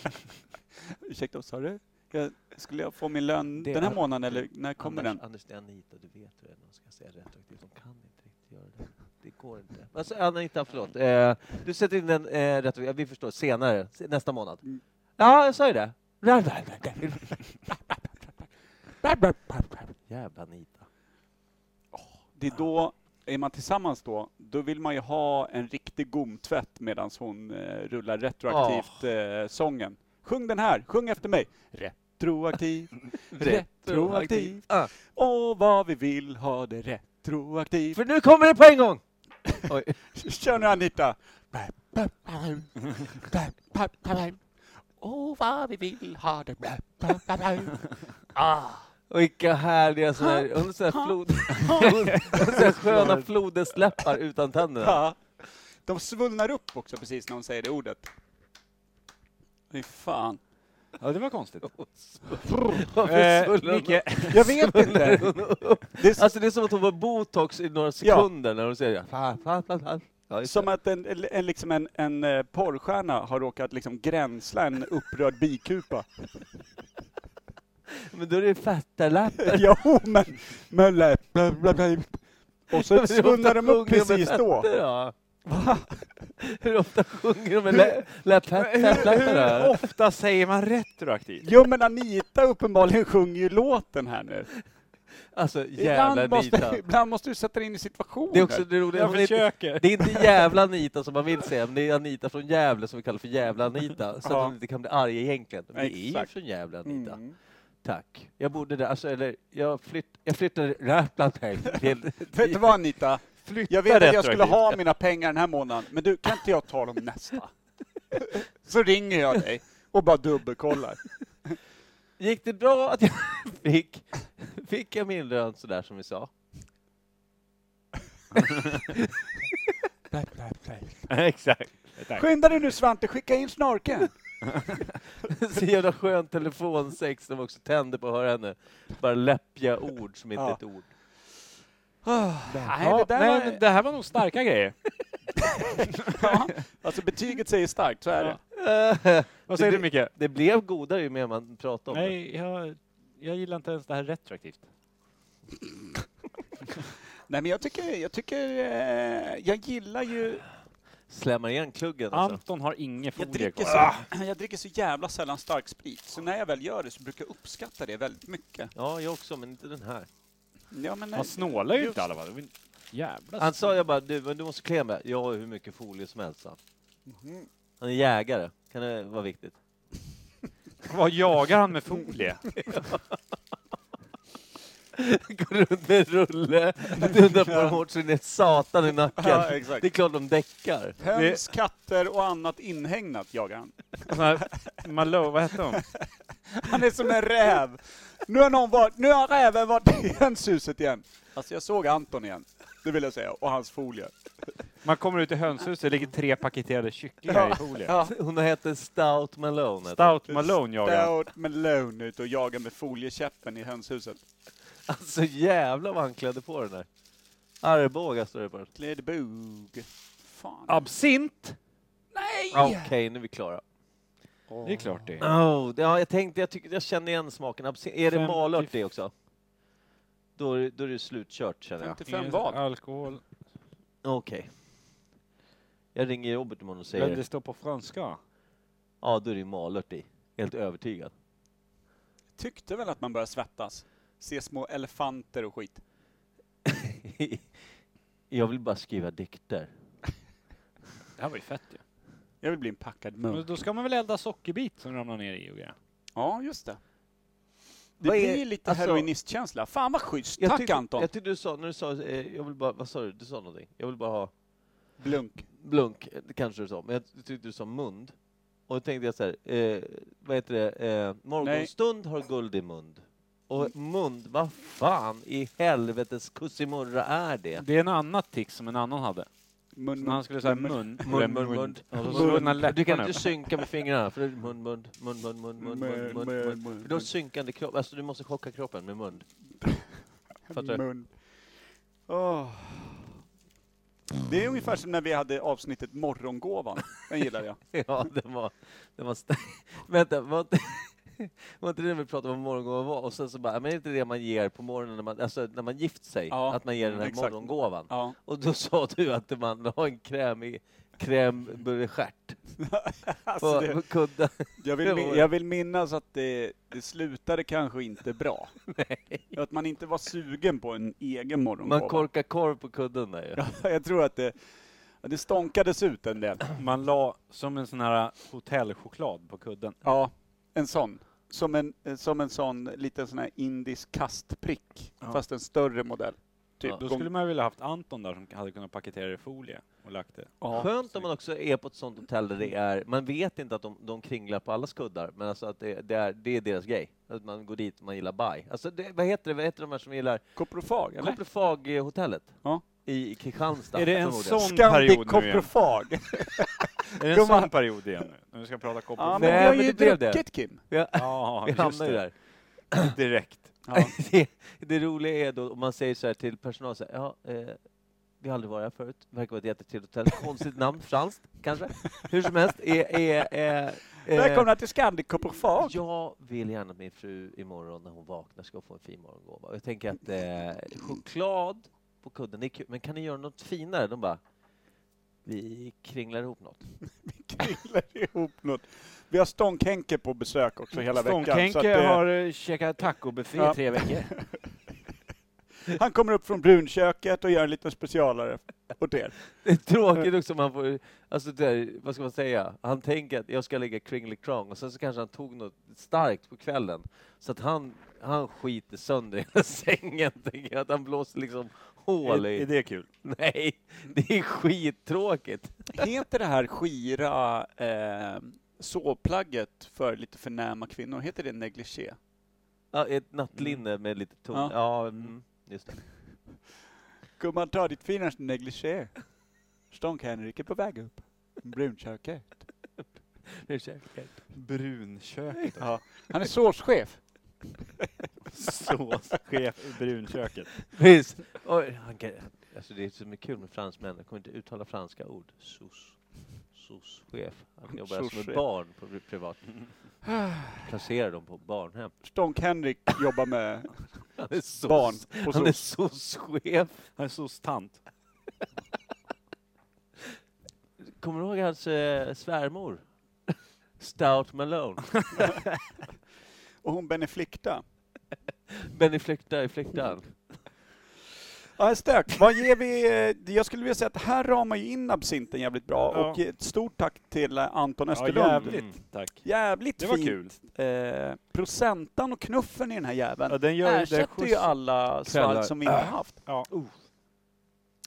[SPEAKER 1] Ursäkta, vad sa du? Jag, skulle jag få min lön
[SPEAKER 2] Det
[SPEAKER 1] den här
[SPEAKER 2] är-
[SPEAKER 1] månaden eller när kommer
[SPEAKER 2] Anders,
[SPEAKER 1] den?
[SPEAKER 2] Anders, det är Anita. Du vet hur det är när de ska säga retroaktivt. De kan inte riktigt göra det. Det går inte. Alltså, Anita, förlåt. Eh, du sätter in en eh, retroaktiv. Vi förstår. Senare. se- Nästa månad.
[SPEAKER 1] Mm.
[SPEAKER 2] Ja, jag sa ju det. Jävla Anita.
[SPEAKER 1] Det är då, är man tillsammans då, då vill man ju ha en riktig gomtvätt medan hon eh, rullar
[SPEAKER 2] Ah.
[SPEAKER 1] retroaktivt eh, sången. Sjung den här, sjung efter mig. Retroaktiv, retroaktiv.
[SPEAKER 2] Ah,
[SPEAKER 1] Åh, vad vi vill ha det retroaktivt.
[SPEAKER 2] för nu kommer det på en gång!
[SPEAKER 1] Kör nu Anita!
[SPEAKER 4] Åh, vad vi vill ha det.
[SPEAKER 2] Och vilka härliga såna här, hon har såna här, flod, *laughs* hon har såna här sköna flodhästläppar utan tänderna.
[SPEAKER 1] Ja. De svullnar upp också precis när hon säger det ordet. Fy fan.
[SPEAKER 3] Ja, det
[SPEAKER 2] *laughs*
[SPEAKER 3] var konstigt.
[SPEAKER 2] Varför svullar hon
[SPEAKER 3] Eh,
[SPEAKER 1] *laughs*
[SPEAKER 3] Micke,
[SPEAKER 1] Jag vet inte. Det är
[SPEAKER 2] Alltså det är som att hon var botox i några sekunder när hon säger fa, fa, fa, fa. Ja, just
[SPEAKER 1] som
[SPEAKER 2] det.
[SPEAKER 1] att en, en- en, liksom en, en eh, porrstjärna har råkat liksom gränsla en upprörd bikupa. *laughs*
[SPEAKER 2] Men då är det
[SPEAKER 1] *laughs*
[SPEAKER 2] fatta läppen.
[SPEAKER 1] jo, men... men lä- bla, bla, bla. Och
[SPEAKER 2] *laughs*
[SPEAKER 1] så svullnar de upp precis då.
[SPEAKER 2] Ja. *laughs* Hur ofta sjunger de med lä- läppläpparna?
[SPEAKER 3] hur ofta säger man retroaktivt?
[SPEAKER 1] Jo, men Anita uppenbarligen sjunger ju låten här nu.
[SPEAKER 2] Alltså jävla
[SPEAKER 1] Ibland
[SPEAKER 2] Anita.
[SPEAKER 1] måste, ibland måste du sätta dig in i situationen.
[SPEAKER 2] Det är också det roliga.
[SPEAKER 3] *laughs* Jag
[SPEAKER 2] hon är inte- *laughs*
[SPEAKER 3] försöker.
[SPEAKER 2] Det är inte jävla Anita som man vill säga, men det är Anita från Gävle som vi kallar för jävla Anita. Så
[SPEAKER 1] Ja.
[SPEAKER 2] att hon inte kan bli arg egentligen. Men det är ju
[SPEAKER 1] Exakt.
[SPEAKER 2] från jävla Anita.
[SPEAKER 1] Mm.
[SPEAKER 2] Tack. Jag borde där, alltså eller jag, flytt, jag flyttade Rappland till... till
[SPEAKER 1] Vet du vad Anita?
[SPEAKER 3] Flytta
[SPEAKER 1] Jag vet att jag
[SPEAKER 3] retroaktivt.
[SPEAKER 1] skulle ha mina pengar den här månaden, men du, kan inte jag ta dem nästa? *laughs* Så ringer jag dig och bara dubbelkollar.
[SPEAKER 2] Gick det bra att jag *laughs* fick, fick jag min lön sådär som vi sa?
[SPEAKER 3] Exakt. Tack.
[SPEAKER 1] Skynda dig nu Svante, skicka in snorken!
[SPEAKER 2] Så jävla skön telefonsex som också tände på att höra henne. Bara läppiga ord som inte är
[SPEAKER 1] Ja.
[SPEAKER 2] ett ord.
[SPEAKER 1] Nej,
[SPEAKER 3] Ah, Ja,
[SPEAKER 1] det där
[SPEAKER 3] nej,
[SPEAKER 1] var-
[SPEAKER 3] men det här var nog starka grejer.
[SPEAKER 1] Ja, alltså betyget säger starkt, så är det.
[SPEAKER 3] Vad säger
[SPEAKER 2] Det
[SPEAKER 3] du Micke?
[SPEAKER 2] *laughs* Det blev godare ju mer man pratade om det.
[SPEAKER 3] Nej, jag, jag gillar inte ens det här retroaktivt.
[SPEAKER 1] Nej men jag tycker, jag tycker, eh, jag gillar ju,
[SPEAKER 2] Slämmar igen kluggen alltså.
[SPEAKER 3] Anton har ingen
[SPEAKER 1] jag
[SPEAKER 3] folie
[SPEAKER 1] dricker,
[SPEAKER 3] kvar.
[SPEAKER 1] så, jag dricker så jävla sällan stark sprit, så när jag väl gör det så brukar jag uppskatta det väldigt mycket.
[SPEAKER 2] Ja, jag också, men inte den här.
[SPEAKER 1] Ja, men, eh,
[SPEAKER 3] Han snålar ju
[SPEAKER 1] just-
[SPEAKER 3] inte i alla fall. Det var en Jävla
[SPEAKER 2] Han sa jag bara, du, men du måste klä mig. Jag har hur mycket folie som helst, sa han.
[SPEAKER 1] Mhm.
[SPEAKER 2] Han är jägare, kan det vara viktigt? *laughs*
[SPEAKER 3] Vad jagar han med folie?
[SPEAKER 2] Går runt med en rulle, dundrar på dem hårt så det är ett satan i nacken.
[SPEAKER 1] Ja, exakt.
[SPEAKER 2] Det är klart de däckar.
[SPEAKER 1] Höns, katter och annat inhägnat jagar han.
[SPEAKER 3] Sån här Malou, vad hette hon?
[SPEAKER 1] Han är som en räv. Nu har, någon varit, nu har räven varit i hönshuset igen. Alltså jag såg Anton igen, det vill jag säga, och hans folie.
[SPEAKER 3] Man kommer ut i hönshuset, det ligger tre paketerade kycklingar i folie.
[SPEAKER 1] Ja.
[SPEAKER 2] *laughs* Hon heter Stout Malone. heter hon.
[SPEAKER 3] Stout Malone jagar han.
[SPEAKER 1] Stout Malone ute och jagar med foliekäppen i hönshuset.
[SPEAKER 2] Alltså jävlar vad han klädde på den där. Arboga står det på den.
[SPEAKER 1] Klädbog. Fan.
[SPEAKER 3] Absint!
[SPEAKER 2] Okej, nu är vi klara.
[SPEAKER 3] Det är klart det är.
[SPEAKER 2] Oh, det- ja, jag tänkte, jag, tycker, jag känner igen smaken. Absin- är det
[SPEAKER 3] 50
[SPEAKER 2] malört det också? Då är, då är det slutkört känner jag.
[SPEAKER 1] 55 vad?
[SPEAKER 3] Alkohol.
[SPEAKER 2] Okej. Jag ringer Robert imorgon och
[SPEAKER 3] Men
[SPEAKER 2] säger,
[SPEAKER 3] det står på franska.
[SPEAKER 2] ja då är det ju malört i. Helt övertygad. *laughs*
[SPEAKER 1] Tyckte väl att man började svettas. Se små elefanter och skit.
[SPEAKER 2] jag vill bara skriva dikter.
[SPEAKER 3] Det här var ju fett ju.
[SPEAKER 1] Jag vill bli en packad
[SPEAKER 3] Men
[SPEAKER 1] munk.
[SPEAKER 3] då ska man väl elda sockerbit som ramlar ner i och grejer.
[SPEAKER 1] Ja, just det. Det
[SPEAKER 2] Vad är-
[SPEAKER 1] blir lite
[SPEAKER 2] alltså-
[SPEAKER 1] heroinistkänsla. Fan vad schysst. Tack
[SPEAKER 2] tyckte,
[SPEAKER 1] Anton.
[SPEAKER 2] Jag tyckte du sa, när du sa, eh, jag vill bara, vad sa du? Du sa någonting. Jag vill bara ha
[SPEAKER 1] Blunk.
[SPEAKER 2] blunk, eh, kanske du sa, men jag tyckte du sa mund. Och då tänkte jag så här, eh, vad heter det, eh, morgonstund har guld i mund. Och mund, vad fan i helvetes kussimurra är det?
[SPEAKER 3] Det är en annan tics som en annan hade.
[SPEAKER 1] Mun,
[SPEAKER 3] Så när han skulle säga mun,
[SPEAKER 2] Mun, mun, mun.
[SPEAKER 3] Och så slog han
[SPEAKER 2] Du
[SPEAKER 3] läpparna
[SPEAKER 2] kan
[SPEAKER 3] upp.
[SPEAKER 2] inte synka med fingrarna. För det är mun, mun, mun, mun, mun, mun, mun, mun, mun. För du har synkande kropp. Alltså du måste chocka kroppen med mun. Fattar du?
[SPEAKER 1] mun. Åh. Det är ungefär som när vi hade avsnittet Morgongåvan. Den gillar
[SPEAKER 2] *laughs*
[SPEAKER 1] jag.
[SPEAKER 2] Ja, den var... Den var st- *laughs* Vänta, var inte, *laughs* var inte det vi pratade om morgongåva var? Och sen så bara, men är inte det man ger på morgonen när man, alltså, när man gift sig?
[SPEAKER 1] Ja,
[SPEAKER 2] att man ger den här
[SPEAKER 1] exakt.
[SPEAKER 2] morgongåvan.
[SPEAKER 1] Ja.
[SPEAKER 2] Och då sa du att man har en kräm i krämburgestjärt
[SPEAKER 1] Alltså
[SPEAKER 2] på,
[SPEAKER 1] det, *laughs*
[SPEAKER 2] på kudden.
[SPEAKER 1] jag, vill, min- jag vill minnas att det, det slutade kanske inte
[SPEAKER 2] *laughs*
[SPEAKER 1] bra. Att man inte var sugen på en egen
[SPEAKER 2] Man
[SPEAKER 1] morgongåva.
[SPEAKER 2] korkar korv på kudden där ju.
[SPEAKER 1] Jag tror att det, ja, det stånkades ut en del.
[SPEAKER 3] Man la som en sån här hotellchoklad på kudden.
[SPEAKER 1] Ja, en sån. Som en, eh, som en sån liten sån här indisk kastprick,
[SPEAKER 3] Ja.
[SPEAKER 1] fast en större modell. Typ.
[SPEAKER 2] Ja.
[SPEAKER 3] Då skulle man vilja haft Anton där som hade kunnat paketera det i folie och lagt det.
[SPEAKER 2] Skönt om man också är på ett sånt hotell där det är, man vet inte att de, de kringlar på alla skuddar, men alltså att det, det, är, det är deras grej. Att man går dit och man gillar baj. Alltså det, vad heter det, vad heter de här som gillar?
[SPEAKER 1] Koprofag, eller?
[SPEAKER 2] Koprofag-hotellet
[SPEAKER 1] Ja.
[SPEAKER 2] i i Kristianstad.
[SPEAKER 3] Är det en
[SPEAKER 2] förmodligen.
[SPEAKER 3] sån
[SPEAKER 1] Scandic
[SPEAKER 3] period nu igen?
[SPEAKER 1] koprofag.
[SPEAKER 3] Är det en sån period igen nu? När vi ska prata
[SPEAKER 1] Ja,
[SPEAKER 3] koppar?
[SPEAKER 1] men
[SPEAKER 2] Nej,
[SPEAKER 1] vi har
[SPEAKER 2] men
[SPEAKER 1] ju
[SPEAKER 2] det blev det.
[SPEAKER 1] druckit Kim.
[SPEAKER 3] Ja,
[SPEAKER 2] *laughs* Vi
[SPEAKER 3] just
[SPEAKER 2] hamnar ju
[SPEAKER 3] det.
[SPEAKER 2] där.
[SPEAKER 3] Direkt.
[SPEAKER 1] *laughs* Ja.
[SPEAKER 2] det, det roliga är då om man säger så här till personal, så här, ja, eh, vi har aldrig varit här förut, verkar vara ett jättetrevligt hotell, *laughs* konstigt namn, franskt kanske, hur som helst. Är, är, är, eh,
[SPEAKER 1] Välkomna till Scandic *laughs* koprofag.
[SPEAKER 2] Jag vill gärna att min fru imorgon när hon vaknar ska få en fin morgongåva. Och Jag tänker att eh, choklad på kudden, det är kul. Men kan ni göra något finare? De bara, vi kringlar ihop något.
[SPEAKER 1] Killar ihop något. Vi har Stånk-Henke på besök också hela veckan. så att
[SPEAKER 3] Stånk-Henke
[SPEAKER 1] det,
[SPEAKER 3] har eh, käkat tacobuffé
[SPEAKER 1] Ja.
[SPEAKER 3] i tre veckor.
[SPEAKER 1] Han kommer upp från brunköket och gör en liten specialare åt er.
[SPEAKER 2] Det är tråkigt också om man får, alltså det där, vad ska man säga, han tänker att jag ska lägga kringelikrång och sen så kanske han tog något starkt på kvällen så att han, han skiter sönder hela *laughs* sängen, tänker jag, att han blåser liksom hål
[SPEAKER 3] Är,
[SPEAKER 2] i.
[SPEAKER 3] är det kul?
[SPEAKER 2] Nej, det är skittråkigt.
[SPEAKER 1] Heter det här skira eh, sovplagget för lite förnäma kvinnor, heter det negligé?
[SPEAKER 2] Ja, ett nattlinne med lite ton.
[SPEAKER 1] Ja.
[SPEAKER 2] Ja, mm, just det.
[SPEAKER 1] Gumman, ta ditt finaste negligé. Stånk-Henrik är på väg upp. Brunköket.
[SPEAKER 3] Brunköket.
[SPEAKER 1] Ja. Han *laughs* är såschef.
[SPEAKER 3] Såschef i brunköket.
[SPEAKER 2] Visst. *laughs* Oj, han kan, alltså det är så mycket kul med fransmän, jag kommer inte uttala franska ord. Sos. Soschef. Han jobbar alltså med
[SPEAKER 1] Soschef.
[SPEAKER 2] barn på pri- *laughs* privat. Placerar dem på barnhem.
[SPEAKER 1] Stånk-Henrik jobbar med
[SPEAKER 2] Han är
[SPEAKER 3] *laughs*
[SPEAKER 2] sos.
[SPEAKER 1] barn på
[SPEAKER 2] Han är
[SPEAKER 1] soc.
[SPEAKER 2] soschef.
[SPEAKER 3] Han är soc-tant.
[SPEAKER 2] Kommer du ihåg hans eh, svärmor? *laughs* Stout Malone.
[SPEAKER 1] Och hon Beneflikta.
[SPEAKER 2] Benny flyktar i flyktan.
[SPEAKER 1] Ja, en stök. Vad ger vi? eh, Jag skulle vilja säga att det här ramar ju in absinten jävligt bra.
[SPEAKER 3] Ja.
[SPEAKER 1] Och ett stort tack till eh, Anton
[SPEAKER 3] Ja,
[SPEAKER 1] Österlund.
[SPEAKER 3] jävligt.
[SPEAKER 2] Mm.
[SPEAKER 3] Tack.
[SPEAKER 1] jävligt
[SPEAKER 3] Det var
[SPEAKER 1] fint.
[SPEAKER 3] kul.
[SPEAKER 1] Eh, procentan och knuffen i den här jäveln
[SPEAKER 3] Ja, den gör ju det
[SPEAKER 1] ersätter ju
[SPEAKER 3] skjuts
[SPEAKER 1] alla
[SPEAKER 3] kvällar. Ah.
[SPEAKER 1] svalg som vi inte har haft.
[SPEAKER 2] Ja,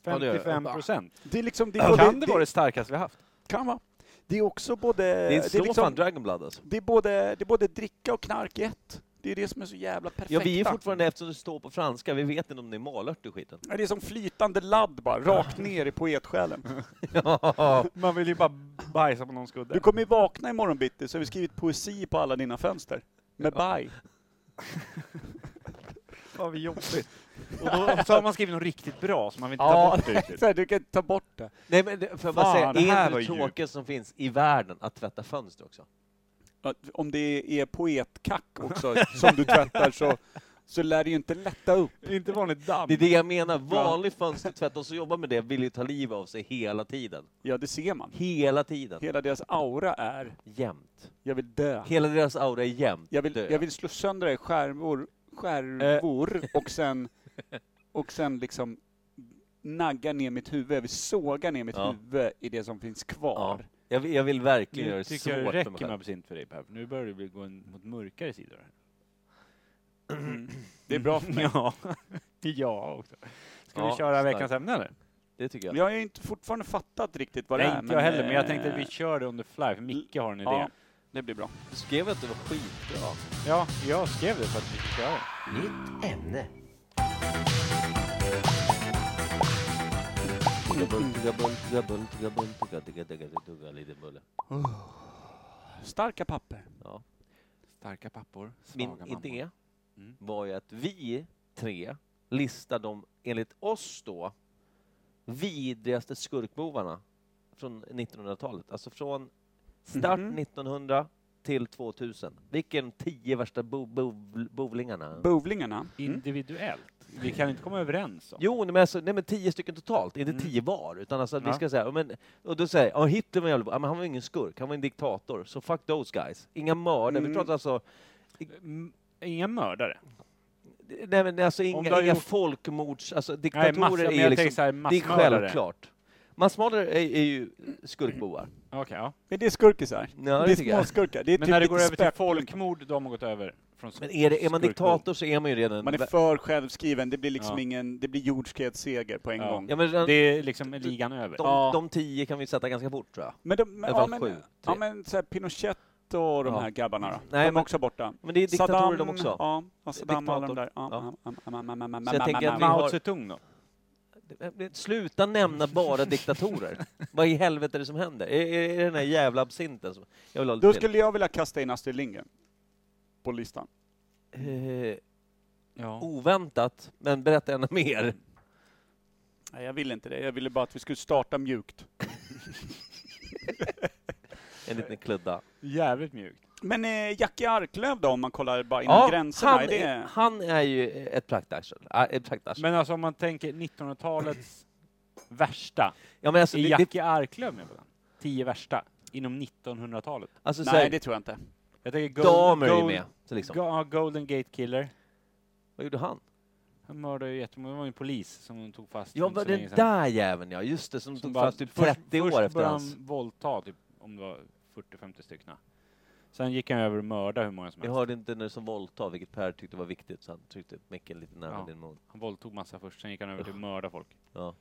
[SPEAKER 2] det gör jag.
[SPEAKER 3] 55 procent.
[SPEAKER 1] Det är liksom... Det är både,
[SPEAKER 3] Kan det vara det starkaste vi haft?
[SPEAKER 1] kan vara. Det är också både...
[SPEAKER 2] Det är, slår
[SPEAKER 1] liksom-
[SPEAKER 2] fan Dragon Blood alltså.
[SPEAKER 1] det är både, det är både dricka och knark i ett. Det är det som är så jävla perfekt.
[SPEAKER 2] Ja, vi är fortfarande, eftersom det står på franska, vi vet inte om det är malört i *laughs* skiten.
[SPEAKER 1] Det är som flytande ladd bara, rakt ner i poetsjälen.
[SPEAKER 3] *laughs* Man vill ju bara bajsa på någon
[SPEAKER 1] Du
[SPEAKER 3] skudde.
[SPEAKER 1] kommer ju vakna imorgon bitti så har vi skrivit poesi på alla dina fönster. Med baj.
[SPEAKER 3] Fan vad jobbigt. Och då, så har man skrivit något riktigt bra så man vill inte ta
[SPEAKER 1] Ja,
[SPEAKER 3] bort det riktigt.
[SPEAKER 1] så här, du kan ta bort det.
[SPEAKER 2] Nej, men det- får jag
[SPEAKER 3] Fan,
[SPEAKER 2] bara säga,
[SPEAKER 3] det här
[SPEAKER 2] det är
[SPEAKER 3] var
[SPEAKER 2] det
[SPEAKER 3] djupt.
[SPEAKER 2] tråkigaste som finns i världen att tvätta fönster också?
[SPEAKER 1] Ja, Om det är poetkack också som du tvättar så, så lär det ju inte lätta upp.
[SPEAKER 3] Inte vanligt damm.
[SPEAKER 2] Det är det jag menar, vanlig fönstertvätt, de som jobbar med det vill ju ta livet av sig hela tiden.
[SPEAKER 1] Ja, det ser man.
[SPEAKER 2] Hela tiden.
[SPEAKER 1] Hela deras aura är,
[SPEAKER 2] Jämt.
[SPEAKER 1] jag vill dö.
[SPEAKER 2] Hela deras aura är jämt
[SPEAKER 1] Jag vill,
[SPEAKER 2] dö.
[SPEAKER 1] jag vill slå sönder dig i skärvor, skärvor och sen, och sen liksom nagga ner mitt huvud. Jag vill såga ner mitt
[SPEAKER 2] Ja.
[SPEAKER 1] huvud i det som finns
[SPEAKER 2] ja.
[SPEAKER 1] kvar.
[SPEAKER 2] jag, vill, jag vill verkligen göra
[SPEAKER 3] Nu
[SPEAKER 2] det svårt
[SPEAKER 3] tycker jag det
[SPEAKER 2] för
[SPEAKER 3] räcker
[SPEAKER 2] mig
[SPEAKER 3] med
[SPEAKER 2] själv.
[SPEAKER 3] absint för dig Per. Nu börjar du bli- gå in mot mörkare sidor. här.
[SPEAKER 1] Det är bra för mig.
[SPEAKER 3] *laughs* Ja. ja också. Ska vi
[SPEAKER 2] Ja,
[SPEAKER 3] köra
[SPEAKER 2] starkt.
[SPEAKER 3] veckans ämne eller?
[SPEAKER 2] Det tycker jag.
[SPEAKER 1] Jag har ju inte fortfarande fattat riktigt vad det
[SPEAKER 3] Nej,
[SPEAKER 1] är.
[SPEAKER 3] inte jag heller, men jag tänkte
[SPEAKER 1] eh,
[SPEAKER 3] att vi kör det under fly, för Micke har en idé.
[SPEAKER 1] ja,
[SPEAKER 3] Ja,
[SPEAKER 1] det blir bra.
[SPEAKER 2] Du skrev att det var skitbra.
[SPEAKER 3] jag skrev det för att vi skulle köra det.
[SPEAKER 5] Nytt ämne.
[SPEAKER 2] Lite bulle.
[SPEAKER 1] Starka papper.
[SPEAKER 2] Ja.
[SPEAKER 3] Starka pappor, svaga
[SPEAKER 2] Min
[SPEAKER 3] mammor.
[SPEAKER 2] idé
[SPEAKER 3] Mm.
[SPEAKER 2] var ju att vi tre listar de, enligt oss då, vidrigaste skurkbovarna från 1900-talet. Alltså från start
[SPEAKER 1] Mhm.
[SPEAKER 2] 1900 till 2000. Vilken tio värsta bo, bo, bovlingarna?
[SPEAKER 1] Bowlingarna. Mm.
[SPEAKER 3] Individuellt. Vi kan inte komma överens om.
[SPEAKER 2] Jo, nej, men, alltså, nej, men tio stycken totalt, inte
[SPEAKER 3] Mm.
[SPEAKER 2] tio var. Utan alltså att vi
[SPEAKER 3] Ja.
[SPEAKER 2] ska säga, ja, men, och då säger jag, ja, Hitler var en jävla bo- ja, men han var ingen skurk, han var en diktator. Så fuck those guys. Inga mördare.
[SPEAKER 1] Mm.
[SPEAKER 2] Vi pratar alltså,
[SPEAKER 3] Mm, Inga mördare.
[SPEAKER 2] nej men alltså
[SPEAKER 3] du har
[SPEAKER 2] inga, inga
[SPEAKER 3] gjort-
[SPEAKER 2] folkmords, alltså
[SPEAKER 3] Nej,
[SPEAKER 2] diktatorer
[SPEAKER 3] massor, men
[SPEAKER 2] är
[SPEAKER 3] jag
[SPEAKER 2] liksom,
[SPEAKER 3] tänker så här,
[SPEAKER 2] det är
[SPEAKER 3] massmördare.
[SPEAKER 2] självklart. Massmördare är, är ju skurkbovar.
[SPEAKER 3] Okej, ja.
[SPEAKER 1] Men det är skurkisar.
[SPEAKER 2] Ja,
[SPEAKER 1] det
[SPEAKER 2] det
[SPEAKER 1] är
[SPEAKER 2] tycker jag.
[SPEAKER 1] småskurkar. Det är
[SPEAKER 3] Men
[SPEAKER 1] typ
[SPEAKER 3] när det
[SPEAKER 1] lite
[SPEAKER 3] går över till
[SPEAKER 1] spöken.
[SPEAKER 3] folkmord, då har man gått över. Från
[SPEAKER 2] Men är, det, är man
[SPEAKER 3] skurkmord.
[SPEAKER 2] diktator så är man ju redan...
[SPEAKER 1] Man är för självskriven. Det blir liksom
[SPEAKER 3] Ja.
[SPEAKER 1] ingen, det blir jordskredsseger på en
[SPEAKER 3] Ja.
[SPEAKER 1] gång.
[SPEAKER 2] ja, men redan,
[SPEAKER 3] Det är liksom ligan över.
[SPEAKER 2] de,
[SPEAKER 1] Ja.
[SPEAKER 2] de tio kan vi sätta ganska fort tror jag.
[SPEAKER 1] Men, de, men,
[SPEAKER 2] I alla
[SPEAKER 1] ja,
[SPEAKER 2] fall
[SPEAKER 1] men,
[SPEAKER 2] sju, tre.
[SPEAKER 1] ja, men så här, Pinochet och de
[SPEAKER 2] Ja.
[SPEAKER 1] här grabbarna då?
[SPEAKER 2] Nej,
[SPEAKER 1] de är
[SPEAKER 2] men-
[SPEAKER 1] också borta.
[SPEAKER 2] Men det är diktatorer de också.
[SPEAKER 1] Ja, och Saddam och alla de där. Ja,
[SPEAKER 2] Diktator.
[SPEAKER 1] ja, ja, ja, ja, ja, ja,
[SPEAKER 2] Så jag
[SPEAKER 1] ja,
[SPEAKER 2] tänker
[SPEAKER 1] ja,
[SPEAKER 2] att vi
[SPEAKER 1] ja.
[SPEAKER 3] Mao
[SPEAKER 2] har-
[SPEAKER 3] Zedong då?
[SPEAKER 2] Sluta nämna bara diktatorer. Vad i helvete är det som händer? Är, är, är det den här jävla absinten som... Jag vill ha lite
[SPEAKER 1] Då
[SPEAKER 2] till.
[SPEAKER 1] skulle jag vilja kasta in Astrid Lindgren på listan.
[SPEAKER 2] Eh,
[SPEAKER 3] Ja.
[SPEAKER 2] oväntat, men berätta gärna mer.
[SPEAKER 1] Nej, jag ville inte det. Jag ville bara att vi skulle starta mjukt.
[SPEAKER 2] En liten kludda.
[SPEAKER 3] Jävligt mjukt.
[SPEAKER 1] Men eh, Jackie Arklöv då, om man kollar bara inom
[SPEAKER 2] Ja,
[SPEAKER 1] gränserna?
[SPEAKER 2] han,
[SPEAKER 1] är
[SPEAKER 2] är,
[SPEAKER 1] det...
[SPEAKER 2] han är ju ett praktarsel. Ah, Ett praktarsel.
[SPEAKER 3] Men alltså om man tänker 1900-talets värsta.
[SPEAKER 2] ja, men alltså,
[SPEAKER 3] Är
[SPEAKER 2] det, det,
[SPEAKER 3] Jackie Arklöv med på den? Tio värsta inom 1900-talet.
[SPEAKER 2] alltså, så
[SPEAKER 1] Nej,
[SPEAKER 2] här,
[SPEAKER 1] det tror jag inte.
[SPEAKER 3] Jag tänker
[SPEAKER 2] damer är
[SPEAKER 3] Gold-
[SPEAKER 2] med. Så liksom.
[SPEAKER 3] Go- ja, Golden Gate Killer.
[SPEAKER 2] Vad gjorde han?
[SPEAKER 3] Han mördade ju jättemånga, det var ju en polis som de tog fast.
[SPEAKER 2] Ja,
[SPEAKER 3] inte
[SPEAKER 2] var
[SPEAKER 3] så länge
[SPEAKER 2] den
[SPEAKER 3] sedan.
[SPEAKER 2] där jäveln ja, just det, som,
[SPEAKER 3] Som
[SPEAKER 2] tog
[SPEAKER 3] bara-
[SPEAKER 2] fast typ
[SPEAKER 3] först-
[SPEAKER 2] 30
[SPEAKER 3] först
[SPEAKER 2] år efter
[SPEAKER 3] började
[SPEAKER 2] hans...
[SPEAKER 3] han våldta typ, om det var 40-50 stycken. Sen gick han över och mördade hur många som
[SPEAKER 2] Jag
[SPEAKER 3] helst.
[SPEAKER 2] hörde inte när det som våldtag, vilket Per tyckte var viktigt, så han tryckte upp micken lite närmare
[SPEAKER 3] Ja.
[SPEAKER 2] din mun.
[SPEAKER 3] Han våldtog massa först, sen gick han över till att mörda folk.
[SPEAKER 2] Ja. Vad är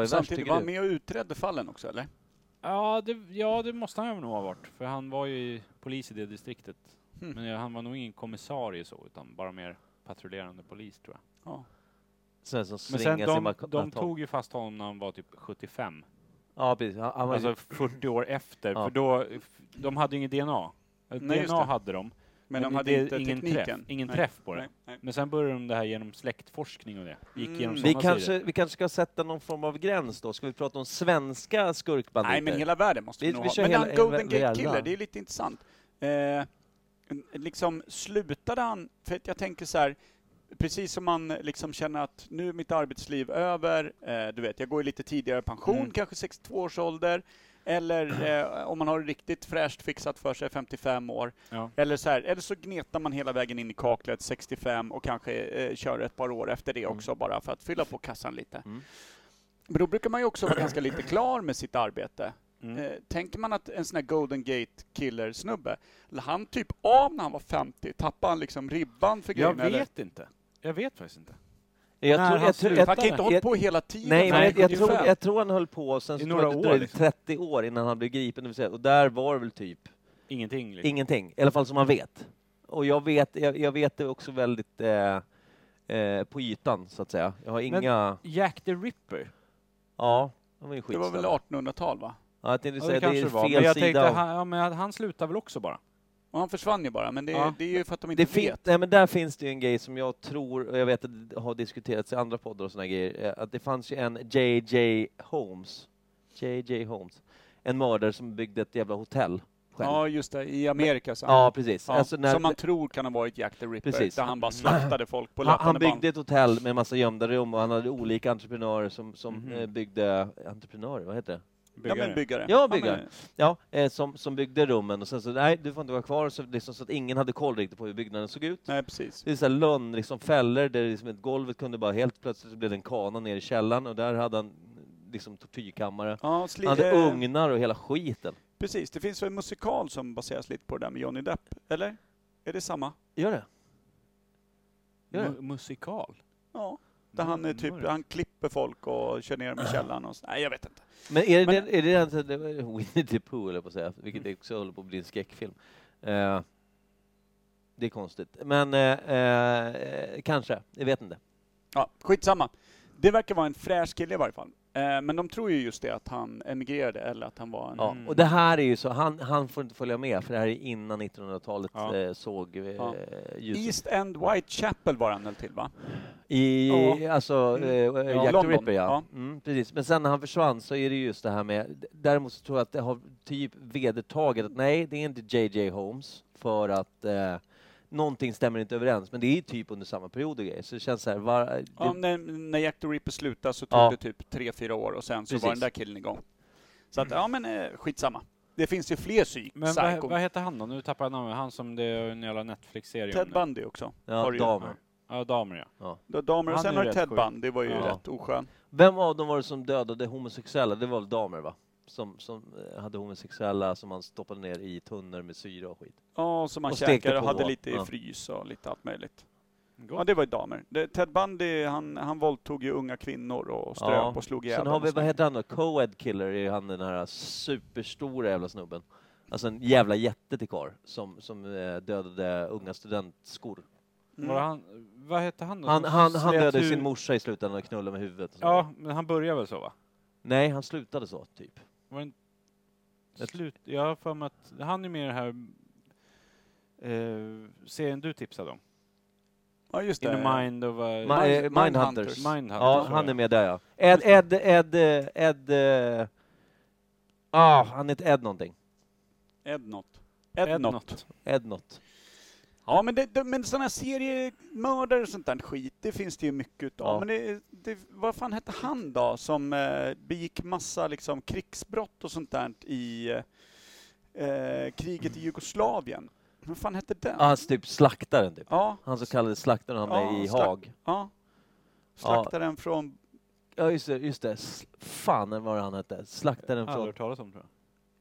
[SPEAKER 2] värst
[SPEAKER 1] Samtidigt
[SPEAKER 2] tycker
[SPEAKER 1] var
[SPEAKER 2] du?
[SPEAKER 1] han med och utredde fallen också, eller?
[SPEAKER 3] Ja det, ja, det måste han nog ha varit, för han var ju polis i det distriktet.
[SPEAKER 2] Hm.
[SPEAKER 1] Hmm.
[SPEAKER 3] Men ja, han var nog ingen kommissarie så, utan bara mer patrullerande polis tror jag.
[SPEAKER 1] Ja.
[SPEAKER 2] Sån som
[SPEAKER 3] Men sen
[SPEAKER 2] svingar sin
[SPEAKER 3] de,
[SPEAKER 2] bak-
[SPEAKER 3] de
[SPEAKER 2] batong.
[SPEAKER 3] tog ju fast honom när han var typ 75.
[SPEAKER 2] Ja, precis. Han, han var ju-
[SPEAKER 3] Alltså 40 år efter,
[SPEAKER 2] Ja.
[SPEAKER 3] för då, de hade ju inget DNA. Eller
[SPEAKER 1] Nej, just
[SPEAKER 3] DNA
[SPEAKER 1] det.
[SPEAKER 3] hade de,
[SPEAKER 1] Men, de
[SPEAKER 3] det-
[SPEAKER 1] hade
[SPEAKER 3] det är
[SPEAKER 1] inte
[SPEAKER 3] ingen
[SPEAKER 1] tekniken.
[SPEAKER 3] Träff, ingen
[SPEAKER 1] Nej.
[SPEAKER 3] träff på det.
[SPEAKER 1] Nej, nej.
[SPEAKER 3] Men sen började de det här genom släktforskning och det. Gick
[SPEAKER 1] Mm.
[SPEAKER 3] genom
[SPEAKER 1] Vi
[SPEAKER 2] vi,
[SPEAKER 3] sådana
[SPEAKER 2] kanske,
[SPEAKER 3] sidor.
[SPEAKER 2] vi kanske ska sätta någon form av gräns då? Ska vi prata om svenska skurkbanditer?
[SPEAKER 1] Nej, men hela världen måste vi,
[SPEAKER 2] Vi-
[SPEAKER 1] nog
[SPEAKER 2] vi
[SPEAKER 1] ha.
[SPEAKER 2] kör
[SPEAKER 1] Men
[SPEAKER 2] hela-
[SPEAKER 1] han Golden
[SPEAKER 2] hela-
[SPEAKER 1] Gate Killer,
[SPEAKER 2] hela.
[SPEAKER 1] det är lite intressant. Eh, liksom slutade han, för att jag tänker så här, precis som man liksom känner att nu är mitt arbetsliv över, eh, du vet, jag går ju lite tidigare i pension,
[SPEAKER 3] Mm.
[SPEAKER 1] kanske 62 års ålder,
[SPEAKER 2] *clears throat*
[SPEAKER 1] eller eh, om man har det riktigt fräscht fixat för sig, 55 år.
[SPEAKER 3] Ja.
[SPEAKER 1] Eller så, här, eller så gnetar man hela vägen in i kaklet 65 och kanske eh, kör ett par år efter det också bara för att fylla på kassan lite.
[SPEAKER 2] Mm.
[SPEAKER 1] Men då brukar man ju också vara ganska *clears throat* lite klar med sitt arbete.
[SPEAKER 3] Mm.
[SPEAKER 1] Eh, tänker man att en sån här Golden Gate killer-snubbe, han typ av när han var 50, tappar han liksom ribban för
[SPEAKER 3] Jag
[SPEAKER 1] grejerna? eller?
[SPEAKER 3] vet inte. Jag vet faktiskt inte.
[SPEAKER 2] Jag
[SPEAKER 3] När
[SPEAKER 2] tror,
[SPEAKER 3] han
[SPEAKER 2] jag, tror, jag,
[SPEAKER 1] Han kan inte hålla på hela tiden.
[SPEAKER 2] Nej, men
[SPEAKER 3] Nej,
[SPEAKER 2] jag, jag, tror,
[SPEAKER 1] 75.
[SPEAKER 2] jag tror han höll på och sen
[SPEAKER 3] I
[SPEAKER 2] så
[SPEAKER 3] några
[SPEAKER 2] tror jag
[SPEAKER 3] år,
[SPEAKER 2] det dröjde
[SPEAKER 3] liksom.
[SPEAKER 2] 30 år innan han blev gripen, det vill säga, och där var det väl typ
[SPEAKER 3] Ingenting. Liksom.
[SPEAKER 2] ingenting, i alla fall som man vet. Och jag vet, jag, jag vet det också väldigt eh, eh, på ytan, så att säga. Jag har inga...
[SPEAKER 3] Jack the Ripper.
[SPEAKER 2] Ja, det var ju
[SPEAKER 1] Det var
[SPEAKER 2] skitsnabb.
[SPEAKER 1] väl 1800-tal va?
[SPEAKER 2] Ja, jag tänkte
[SPEAKER 3] Ja,
[SPEAKER 2] säga, det,
[SPEAKER 3] det kanske
[SPEAKER 2] är
[SPEAKER 3] det
[SPEAKER 2] fel
[SPEAKER 3] var. Men jag tänkte,
[SPEAKER 2] sida. av-
[SPEAKER 3] han, ja, men han slutar väl också bara?
[SPEAKER 1] Och han försvann ju bara, men det,
[SPEAKER 3] Ja.
[SPEAKER 1] det är ju för att de inte
[SPEAKER 2] Det fin-
[SPEAKER 1] vet.
[SPEAKER 2] nej, men där finns det ju en grej som jag tror, och jag vet att det har diskuterats i andra poddar och såna här grejer, eh, att det fanns ju en JJ Holmes, JJ Holmes, en mördare som byggde ett jävla hotell själv. Ja,
[SPEAKER 1] Ja, just det, i Amerika så.
[SPEAKER 2] precis.
[SPEAKER 1] Ja,
[SPEAKER 2] Alltså, när,
[SPEAKER 1] som man tror kan ha varit Jack the Ripper,
[SPEAKER 2] Precis.
[SPEAKER 1] där han bara slaktade folk på
[SPEAKER 2] han,
[SPEAKER 1] löpande
[SPEAKER 2] han byggde
[SPEAKER 1] band.
[SPEAKER 2] ett hotell med massa gömda rum och han hade olika entreprenörer som, som
[SPEAKER 3] Mhm.
[SPEAKER 2] eh, byggde, entreprenörer, vad heter det?
[SPEAKER 1] Ja, men byggare.
[SPEAKER 2] Ja, byggare.
[SPEAKER 1] men-
[SPEAKER 2] Ja, eh, som, som byggde rummen och sen så, nej du får inte vara kvar, så, liksom, så att ingen hade koll riktigt på hur byggnaden såg ut.
[SPEAKER 1] Nej, precis.
[SPEAKER 2] Det är så här lönn, liksom fällor där liksom ett golvet kunde bara helt plötsligt så blev det en kana ner i källaren och där hade han liksom tortyrkammare.
[SPEAKER 1] Ja, sli-
[SPEAKER 2] Han hade
[SPEAKER 1] eh,
[SPEAKER 2] ugnar och hela skiten.
[SPEAKER 1] Precis, det finns väl en musikal som baseras lite på det där med Johnny Depp, eller? Är det samma?
[SPEAKER 2] Gör det? Gör det?
[SPEAKER 3] Mu- musikal. Mm,
[SPEAKER 1] Ja. Mm. Där han, är typ,
[SPEAKER 3] Mörkt.
[SPEAKER 1] han klipper folk och kör ner dem i källaren och så. Nej, jag vet inte.
[SPEAKER 2] Men är det,
[SPEAKER 1] Men-
[SPEAKER 2] men... Är det, den- det var Winnie the Pooh höll jag på att säga, vilket också håller på att bli en skräckfilm. Eh, det är konstigt. Men eh, eh, kanske, jag vet inte.
[SPEAKER 1] Ja, skitsamma. Det verkar vara en fräsch kille i varje fall. Eh, men de tror ju just det att han emigrerade eller att han var en...
[SPEAKER 2] Ja, och det här är ju så, han, han får inte följa med för det här är innan 1900-talet
[SPEAKER 3] Ja.
[SPEAKER 2] eh, såg eh,
[SPEAKER 1] Ja.
[SPEAKER 2] ljuset.
[SPEAKER 1] East End Whitechapel var han väl till va?
[SPEAKER 2] I,
[SPEAKER 1] Ja. Mm.
[SPEAKER 2] alltså, eh,
[SPEAKER 1] Ja,
[SPEAKER 2] Jack the
[SPEAKER 1] London.
[SPEAKER 2] Ripper ja.
[SPEAKER 1] Ja.
[SPEAKER 2] Mm, precis. Men sen när han försvann så är det just det här med, däremot så tror jag att det har typ vedertaget att nej, det är inte JJ Holmes för att eh, någonting stämmer inte överens. Men det är typ under samma period och grejer, så det känns så här, var, eh, det,
[SPEAKER 1] Ja, när, när Jack the Ripper slutade så tog
[SPEAKER 2] Ja.
[SPEAKER 1] det typ tre fyra år och sen så
[SPEAKER 2] Precis.
[SPEAKER 1] var den där killen igång. Så att, ja men eh, skitsamma. Det finns ju fler psy-
[SPEAKER 3] Men vad,
[SPEAKER 1] psykon.
[SPEAKER 3] vad heter han då? Nu tappar jag namnet. Han som det är en jävla Netflix-serie
[SPEAKER 1] Ted
[SPEAKER 3] nu.
[SPEAKER 1] Bundy också.
[SPEAKER 2] ja,
[SPEAKER 1] har du ju.
[SPEAKER 2] damer.
[SPEAKER 3] Ja, damer ja.
[SPEAKER 1] Då Damer och
[SPEAKER 3] Han
[SPEAKER 1] sen
[SPEAKER 3] är
[SPEAKER 1] har
[SPEAKER 3] ju
[SPEAKER 1] du
[SPEAKER 3] rätt
[SPEAKER 1] Ted
[SPEAKER 3] sjuk.
[SPEAKER 1] Bundy, det var ju
[SPEAKER 2] Ja.
[SPEAKER 1] rätt oskön.
[SPEAKER 2] Vem av dem var det som dödade homosexuella? Det var väl damer va? Som, som eh, hade homosexuella som man stoppade ner i tunnor med syra och skit.
[SPEAKER 1] Ja, som man
[SPEAKER 2] Och stekte
[SPEAKER 1] käkade och
[SPEAKER 2] på.
[SPEAKER 1] hade lite i
[SPEAKER 2] Ja.
[SPEAKER 1] frys och lite allt möjligt. Ja, det var ju damer. Det, Ted Bundy, han, han våldtog ju unga kvinnor och ströp
[SPEAKER 2] Ja.
[SPEAKER 1] och slog ihjäl
[SPEAKER 2] Sen
[SPEAKER 1] dem
[SPEAKER 2] har vi,
[SPEAKER 1] och så.
[SPEAKER 2] vad heter han då? Co-ed killer är han den här superstora jävla snubben. Alltså en jävla jätte till karl som, som eh, dödade unga studentskor.
[SPEAKER 3] Var
[SPEAKER 1] Mm.
[SPEAKER 3] han, vad hette han då?
[SPEAKER 2] Han,
[SPEAKER 3] som
[SPEAKER 2] han, han
[SPEAKER 3] slet
[SPEAKER 2] dödade
[SPEAKER 3] ur-
[SPEAKER 2] sin morsa i slutändan och knullade med huvudet. och så.
[SPEAKER 3] Ja, men han började väl så va?
[SPEAKER 2] Nej, han slutade så, typ.
[SPEAKER 3] Var det en...
[SPEAKER 2] Ett-
[SPEAKER 3] Slut... Jag har för mig att han är med i den här eh, serien du tipsade om.
[SPEAKER 1] Ja, just
[SPEAKER 3] In
[SPEAKER 1] det.
[SPEAKER 3] the mind of a...
[SPEAKER 2] Ma- eh,
[SPEAKER 1] Mind-
[SPEAKER 2] Mindhunters.
[SPEAKER 1] Mindhunters.
[SPEAKER 3] Mindhunter,
[SPEAKER 2] Ja,
[SPEAKER 3] tror
[SPEAKER 2] han
[SPEAKER 3] jag.
[SPEAKER 2] är med där ja. Ed, Ed, Ed, eh, Ed... eh, Ah, han heter Ed någonting.
[SPEAKER 1] Ednot.
[SPEAKER 3] Ednot.
[SPEAKER 1] Ednot.
[SPEAKER 2] Ed något.
[SPEAKER 1] Ja, men, det, det, men sådana här seriemördare och sånt där skit, det finns det ju mycket utav.
[SPEAKER 2] Ja.
[SPEAKER 1] Men det, det, vad fan hette han då, som eh, begick massa liksom, krigsbrott och sånt där i eh, kriget i Jugoslavien? Vad fan hette den?
[SPEAKER 2] Ah, han typ slaktaren, typ.
[SPEAKER 1] Ja,
[SPEAKER 2] Han så kallade slaktaren han
[SPEAKER 1] Ja,
[SPEAKER 2] i
[SPEAKER 1] slak-
[SPEAKER 2] Haag.
[SPEAKER 1] ja. Slaktaren från...
[SPEAKER 2] Ja, just det. Just det. S- Fan vad han hette. Slaktaren
[SPEAKER 3] Aldrig
[SPEAKER 2] från...
[SPEAKER 3] hört talas om tror jag.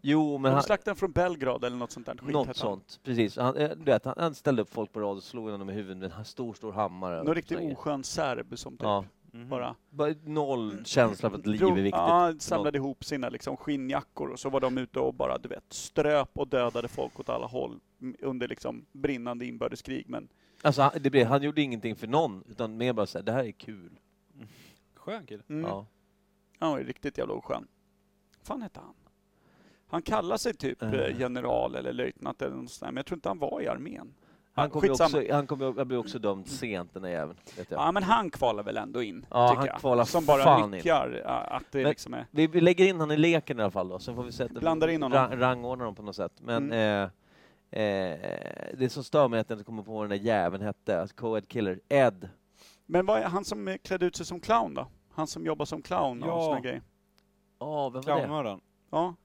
[SPEAKER 2] Jo, men han...
[SPEAKER 1] Han... Slaktaren från Belgrad eller något sånt där skit
[SPEAKER 2] Något
[SPEAKER 1] hette han.
[SPEAKER 2] sånt. Precis. Han, eh, du vet, han, han ställde upp folk på rad och slog dem i huvudet med en stor, stor hammare.
[SPEAKER 1] Någon riktigt
[SPEAKER 2] Sådär.
[SPEAKER 1] oskön serb som typ
[SPEAKER 2] Ja.
[SPEAKER 1] bara...
[SPEAKER 2] Bara Noll känsla för att liv är
[SPEAKER 1] Drog-
[SPEAKER 2] viktigt.
[SPEAKER 1] Ja, samlade ihop sina liksom skinnjackor och så var de ute och bara, du vet, ströp och dödade folk åt alla håll m- under liksom brinnande inbördeskrig. Men
[SPEAKER 2] Alltså, han, det blev, han gjorde ingenting för någon, utan mer bara såhär, det här är kul.
[SPEAKER 3] Skön kille.
[SPEAKER 1] mm, ja.
[SPEAKER 2] Ja.
[SPEAKER 1] han var ju riktigt jävla oskön. Vad fan hette han? Han kallar sig typ
[SPEAKER 2] Eh.
[SPEAKER 1] eh, general eller löjtnant eller något sånt där, men jag tror inte han var i armén.
[SPEAKER 2] Han
[SPEAKER 1] Ja,
[SPEAKER 2] kom ju
[SPEAKER 1] skitsamma.
[SPEAKER 2] också, han kom, ju- han blev också dömd sent, den där jäveln. Vet jag.
[SPEAKER 1] Ja, men han kvalar väl ändå in,
[SPEAKER 2] Ja,
[SPEAKER 1] tycker
[SPEAKER 2] han
[SPEAKER 1] jag.
[SPEAKER 2] kvalar
[SPEAKER 1] Som bara
[SPEAKER 2] fan in.
[SPEAKER 1] nyttjar eh, att det
[SPEAKER 2] Men-
[SPEAKER 1] liksom är...
[SPEAKER 2] Vi, vi lägger in han i leken i alla fall då, sen får vi sätta,
[SPEAKER 1] Blandar in honom. Mm.
[SPEAKER 2] ra- rangordna dem på något sätt. Men eh, eh, det som stör mig är att jag inte kommer på vad den där jäveln hette, alltså co-ed killer, Ed.
[SPEAKER 1] Men vad är han som eh, klädde ut sig som clown då? Han som jobbar som clown och
[SPEAKER 3] Ja.
[SPEAKER 1] såna grejer.
[SPEAKER 2] Ja, vem var det?
[SPEAKER 3] Clownmördaren.
[SPEAKER 1] Ja.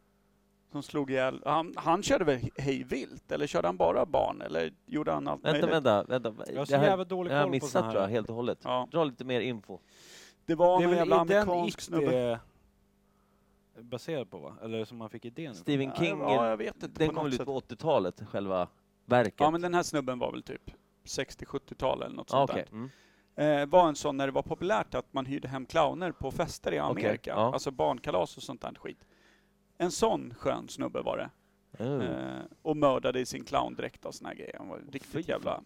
[SPEAKER 1] Som slog ihjäl. Han, han körde väl hej vilt? Eller körde han bara barn? Eller gjorde han allt
[SPEAKER 2] Vänta,
[SPEAKER 1] möjligt?
[SPEAKER 2] vänta, vänta.
[SPEAKER 3] Jag har så
[SPEAKER 2] Det här,
[SPEAKER 3] jävla dålig
[SPEAKER 2] jag har
[SPEAKER 3] koll på såna
[SPEAKER 2] missat
[SPEAKER 3] här.
[SPEAKER 2] tror jag, helt och hållet.
[SPEAKER 1] Ja.
[SPEAKER 2] Dra lite mer info.
[SPEAKER 1] Det var
[SPEAKER 3] Det är
[SPEAKER 1] någon
[SPEAKER 3] väl
[SPEAKER 1] jävla
[SPEAKER 3] i eh, den
[SPEAKER 1] amerikansk
[SPEAKER 3] It
[SPEAKER 1] snubbe.
[SPEAKER 3] är baserad på va? Eller som man fick idén ifrån.
[SPEAKER 2] Stephen King,
[SPEAKER 1] Ja, jag vet inte.
[SPEAKER 2] den
[SPEAKER 1] på
[SPEAKER 2] kom
[SPEAKER 1] något
[SPEAKER 2] väl ut
[SPEAKER 1] sätt.
[SPEAKER 2] på 80-talet, själva verket?
[SPEAKER 1] Ja, men den här snubben var väl typ 60-70-tal eller något
[SPEAKER 2] ah,
[SPEAKER 1] sånt
[SPEAKER 2] okej. Mm.
[SPEAKER 1] där. Eh, var en sån när det var populärt att man hyrde hem clowner på fester i Amerika.
[SPEAKER 2] ja.
[SPEAKER 1] Alltså barnkalas och sånt där skit. En sån skön snubbe var det.
[SPEAKER 2] Mm.
[SPEAKER 1] Eh, och mördade i sin clowndräkt och såna här grejer. Han var riktigt
[SPEAKER 2] fan.
[SPEAKER 1] jävla...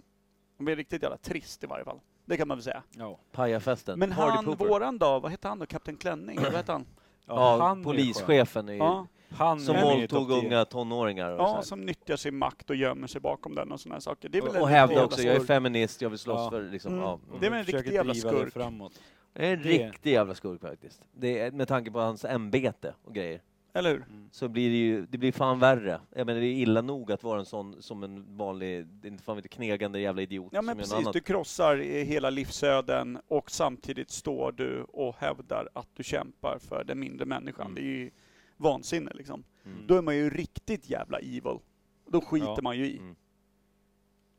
[SPEAKER 1] Han blev riktigt jävla trist i varje fall. Det kan man väl säga.
[SPEAKER 3] Ja.
[SPEAKER 2] Pajafesten.
[SPEAKER 1] Men
[SPEAKER 2] Party
[SPEAKER 1] han,
[SPEAKER 2] Mm. Pooper.
[SPEAKER 1] våran då, vad hette han då? Kapten Klänning? Vad hette
[SPEAKER 2] *clears throat*
[SPEAKER 1] han?
[SPEAKER 2] Ja,
[SPEAKER 3] är
[SPEAKER 2] polischefen är ju,
[SPEAKER 1] Ja,
[SPEAKER 3] skön. Han
[SPEAKER 2] som
[SPEAKER 3] är med i
[SPEAKER 2] våldtog
[SPEAKER 3] topp 10.
[SPEAKER 2] unga tonåringar. Och så
[SPEAKER 1] ja
[SPEAKER 2] här.
[SPEAKER 1] som nyttjar sin makt och gömmer sig bakom den och sådana här saker. Det är väl
[SPEAKER 2] Och, och
[SPEAKER 1] en riktig
[SPEAKER 2] hävda
[SPEAKER 1] jävla
[SPEAKER 2] också, jag är
[SPEAKER 1] skurk.
[SPEAKER 2] feminist, jag vill slåss
[SPEAKER 3] Ja.
[SPEAKER 2] för liksom,
[SPEAKER 1] Mm.
[SPEAKER 2] ja.
[SPEAKER 1] Det är väl en
[SPEAKER 3] Försöker
[SPEAKER 1] riktig jävla
[SPEAKER 3] driva det
[SPEAKER 1] skurk.
[SPEAKER 3] framåt.
[SPEAKER 2] Det är en
[SPEAKER 3] Det-
[SPEAKER 2] riktig jävla skurk faktiskt. Det är, med tanke på hans ämbete och grejer,
[SPEAKER 1] Eller hur?
[SPEAKER 3] Mm.
[SPEAKER 2] så blir det ju, det blir fan värre. Jag menar det är illa nog att vara en sån, som en vanlig, inte fan vet inte, knegande jävla idiot
[SPEAKER 1] Ja
[SPEAKER 2] som gör
[SPEAKER 1] men
[SPEAKER 2] något
[SPEAKER 1] precis,
[SPEAKER 2] annat.
[SPEAKER 1] du krossar eh, hela livsöden och samtidigt står du och hävdar att du kämpar för den mindre människan.
[SPEAKER 2] Mm.
[SPEAKER 1] Det är ju vansinne liksom.
[SPEAKER 2] Mm.
[SPEAKER 1] Då är man ju riktigt jävla evil. Då skiter
[SPEAKER 3] Ja.
[SPEAKER 1] man ju i.
[SPEAKER 2] Mm.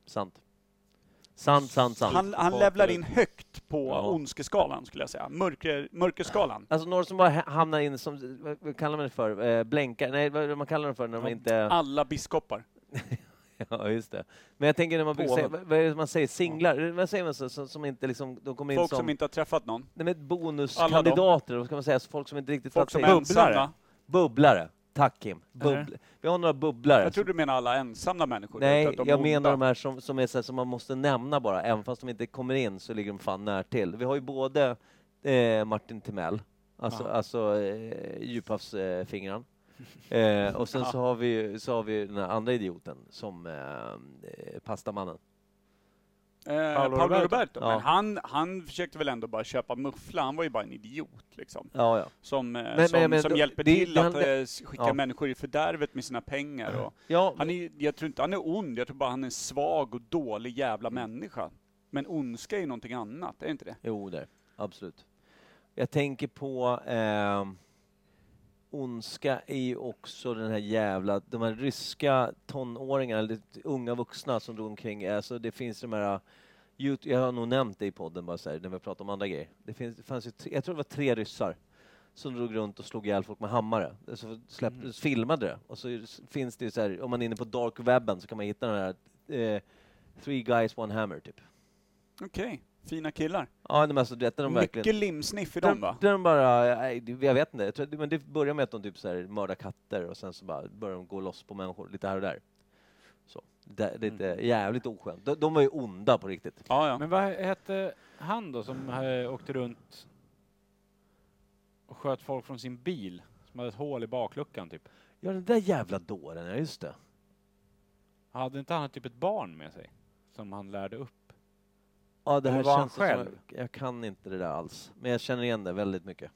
[SPEAKER 2] Sant. Sant, sant, sant.
[SPEAKER 1] Han, han
[SPEAKER 3] Folk
[SPEAKER 1] levlar
[SPEAKER 3] eller-
[SPEAKER 1] in högt på
[SPEAKER 2] Ja.
[SPEAKER 1] ondskeskalan skulle jag säga. Mörker, mörkerskalan.
[SPEAKER 2] Alltså några som bara ha- hamnar in som, vad- vad kallar man det för, eh, blänkar, nej vad är det man kallar dem för när de inte...
[SPEAKER 1] Alla biskopar.
[SPEAKER 2] *laughs* Ja just det. Men jag tänker när man brukar säga,
[SPEAKER 1] Påven.
[SPEAKER 2] vad vad är det man säger, singlar, vad säger man så, som, som inte liksom, de kommer in
[SPEAKER 1] Folk
[SPEAKER 2] som...
[SPEAKER 1] som inte har träffat någon.
[SPEAKER 2] Nej, men
[SPEAKER 1] Alla
[SPEAKER 2] bonuskandidater, vad ska man säga, så folk som inte riktigt
[SPEAKER 1] Folk
[SPEAKER 2] tagit
[SPEAKER 1] som
[SPEAKER 2] sig
[SPEAKER 1] är ensamma.
[SPEAKER 2] Bubblare. Tack Kim. Bubbl-
[SPEAKER 3] Eller?
[SPEAKER 2] Vi har några bubblare.
[SPEAKER 1] Jag tror du menar alla ensamma människor.
[SPEAKER 2] Nej,
[SPEAKER 1] utan att de är
[SPEAKER 2] jag
[SPEAKER 1] onda.
[SPEAKER 2] menar de här som, som, är så här, som man måste nämna bara, även fast de inte kommer in så ligger de fan nära till. Vi har ju både eh, Martin Timell, Alltså,
[SPEAKER 3] Aha.
[SPEAKER 2] alltså eh, djuphavsfingran. Eh, fingran. eh, och *laughs* sen så har, vi, så har vi den här andra idioten som eh, eh, pastamannen.
[SPEAKER 1] Eh,
[SPEAKER 3] Paolo
[SPEAKER 1] Paolo,
[SPEAKER 3] Roberto.
[SPEAKER 1] Roberto.
[SPEAKER 2] Ja.
[SPEAKER 1] Men han, han försökte väl ändå bara köpa muffla, han var ju bara en idiot liksom.
[SPEAKER 2] Ja, ja.
[SPEAKER 1] Som, eh,
[SPEAKER 2] men-
[SPEAKER 1] som,
[SPEAKER 2] men
[SPEAKER 1] som
[SPEAKER 2] då-
[SPEAKER 1] hjälper
[SPEAKER 2] det-
[SPEAKER 1] till
[SPEAKER 2] det-
[SPEAKER 1] att eh, skicka
[SPEAKER 2] ja.
[SPEAKER 1] människor i fördärvet med sina pengar. Och,
[SPEAKER 2] ja
[SPEAKER 1] han är, jag tror inte han är ond, jag tror bara han är en svag och dålig jävla människa. Men ondska är ju någonting annat, är det inte det?
[SPEAKER 2] Jo, det är det. absolut. Jag tänker på eh, ondska är ju också den här jävla, de här ryska tonåringarna, eller unga vuxna som drog omkring, alltså det finns de här Yout- jag har nog nämnt det i podden bara så här, när vi pratar om andra grejer. Det, finns, det fanns ju tre, jag tror det var tre ryssar som drog runt och slog ihjäl folk med hammare. Så släpp, filmade det. Och så s- finns det ju så här, om man är inne på dark webben så kan man hitta den här eh, Three guys one hammer typ.
[SPEAKER 1] Okej, fina killar.
[SPEAKER 2] Ja, nej, men alltså du vet när de verkligen...
[SPEAKER 1] Mycket limsniff i dem va?
[SPEAKER 2] Där de bara, nej, det- jag vet inte, jag tror, att- men det börjar med att de typ så här mördar katter och sen så bara börjar de gå loss på människor lite här och där. Så. Det, lite
[SPEAKER 3] Mm.
[SPEAKER 2] jävligt oskönt. De, de var ju onda på riktigt.
[SPEAKER 1] Ja, ja.
[SPEAKER 3] Men vad hette han då som eh, åkte runt och sköt folk från sin bil? Som hade ett hål i bakluckan typ.
[SPEAKER 2] Ja, den där jävla dåren, ja just det.
[SPEAKER 3] Hade inte han typ ett barn med sig? Som han lärde upp?
[SPEAKER 2] Ja, det
[SPEAKER 3] Eller
[SPEAKER 2] här
[SPEAKER 3] var han
[SPEAKER 2] känns som, jag,
[SPEAKER 3] själv?
[SPEAKER 2] jag kan inte det där alls. Men jag känner igen det väldigt mycket.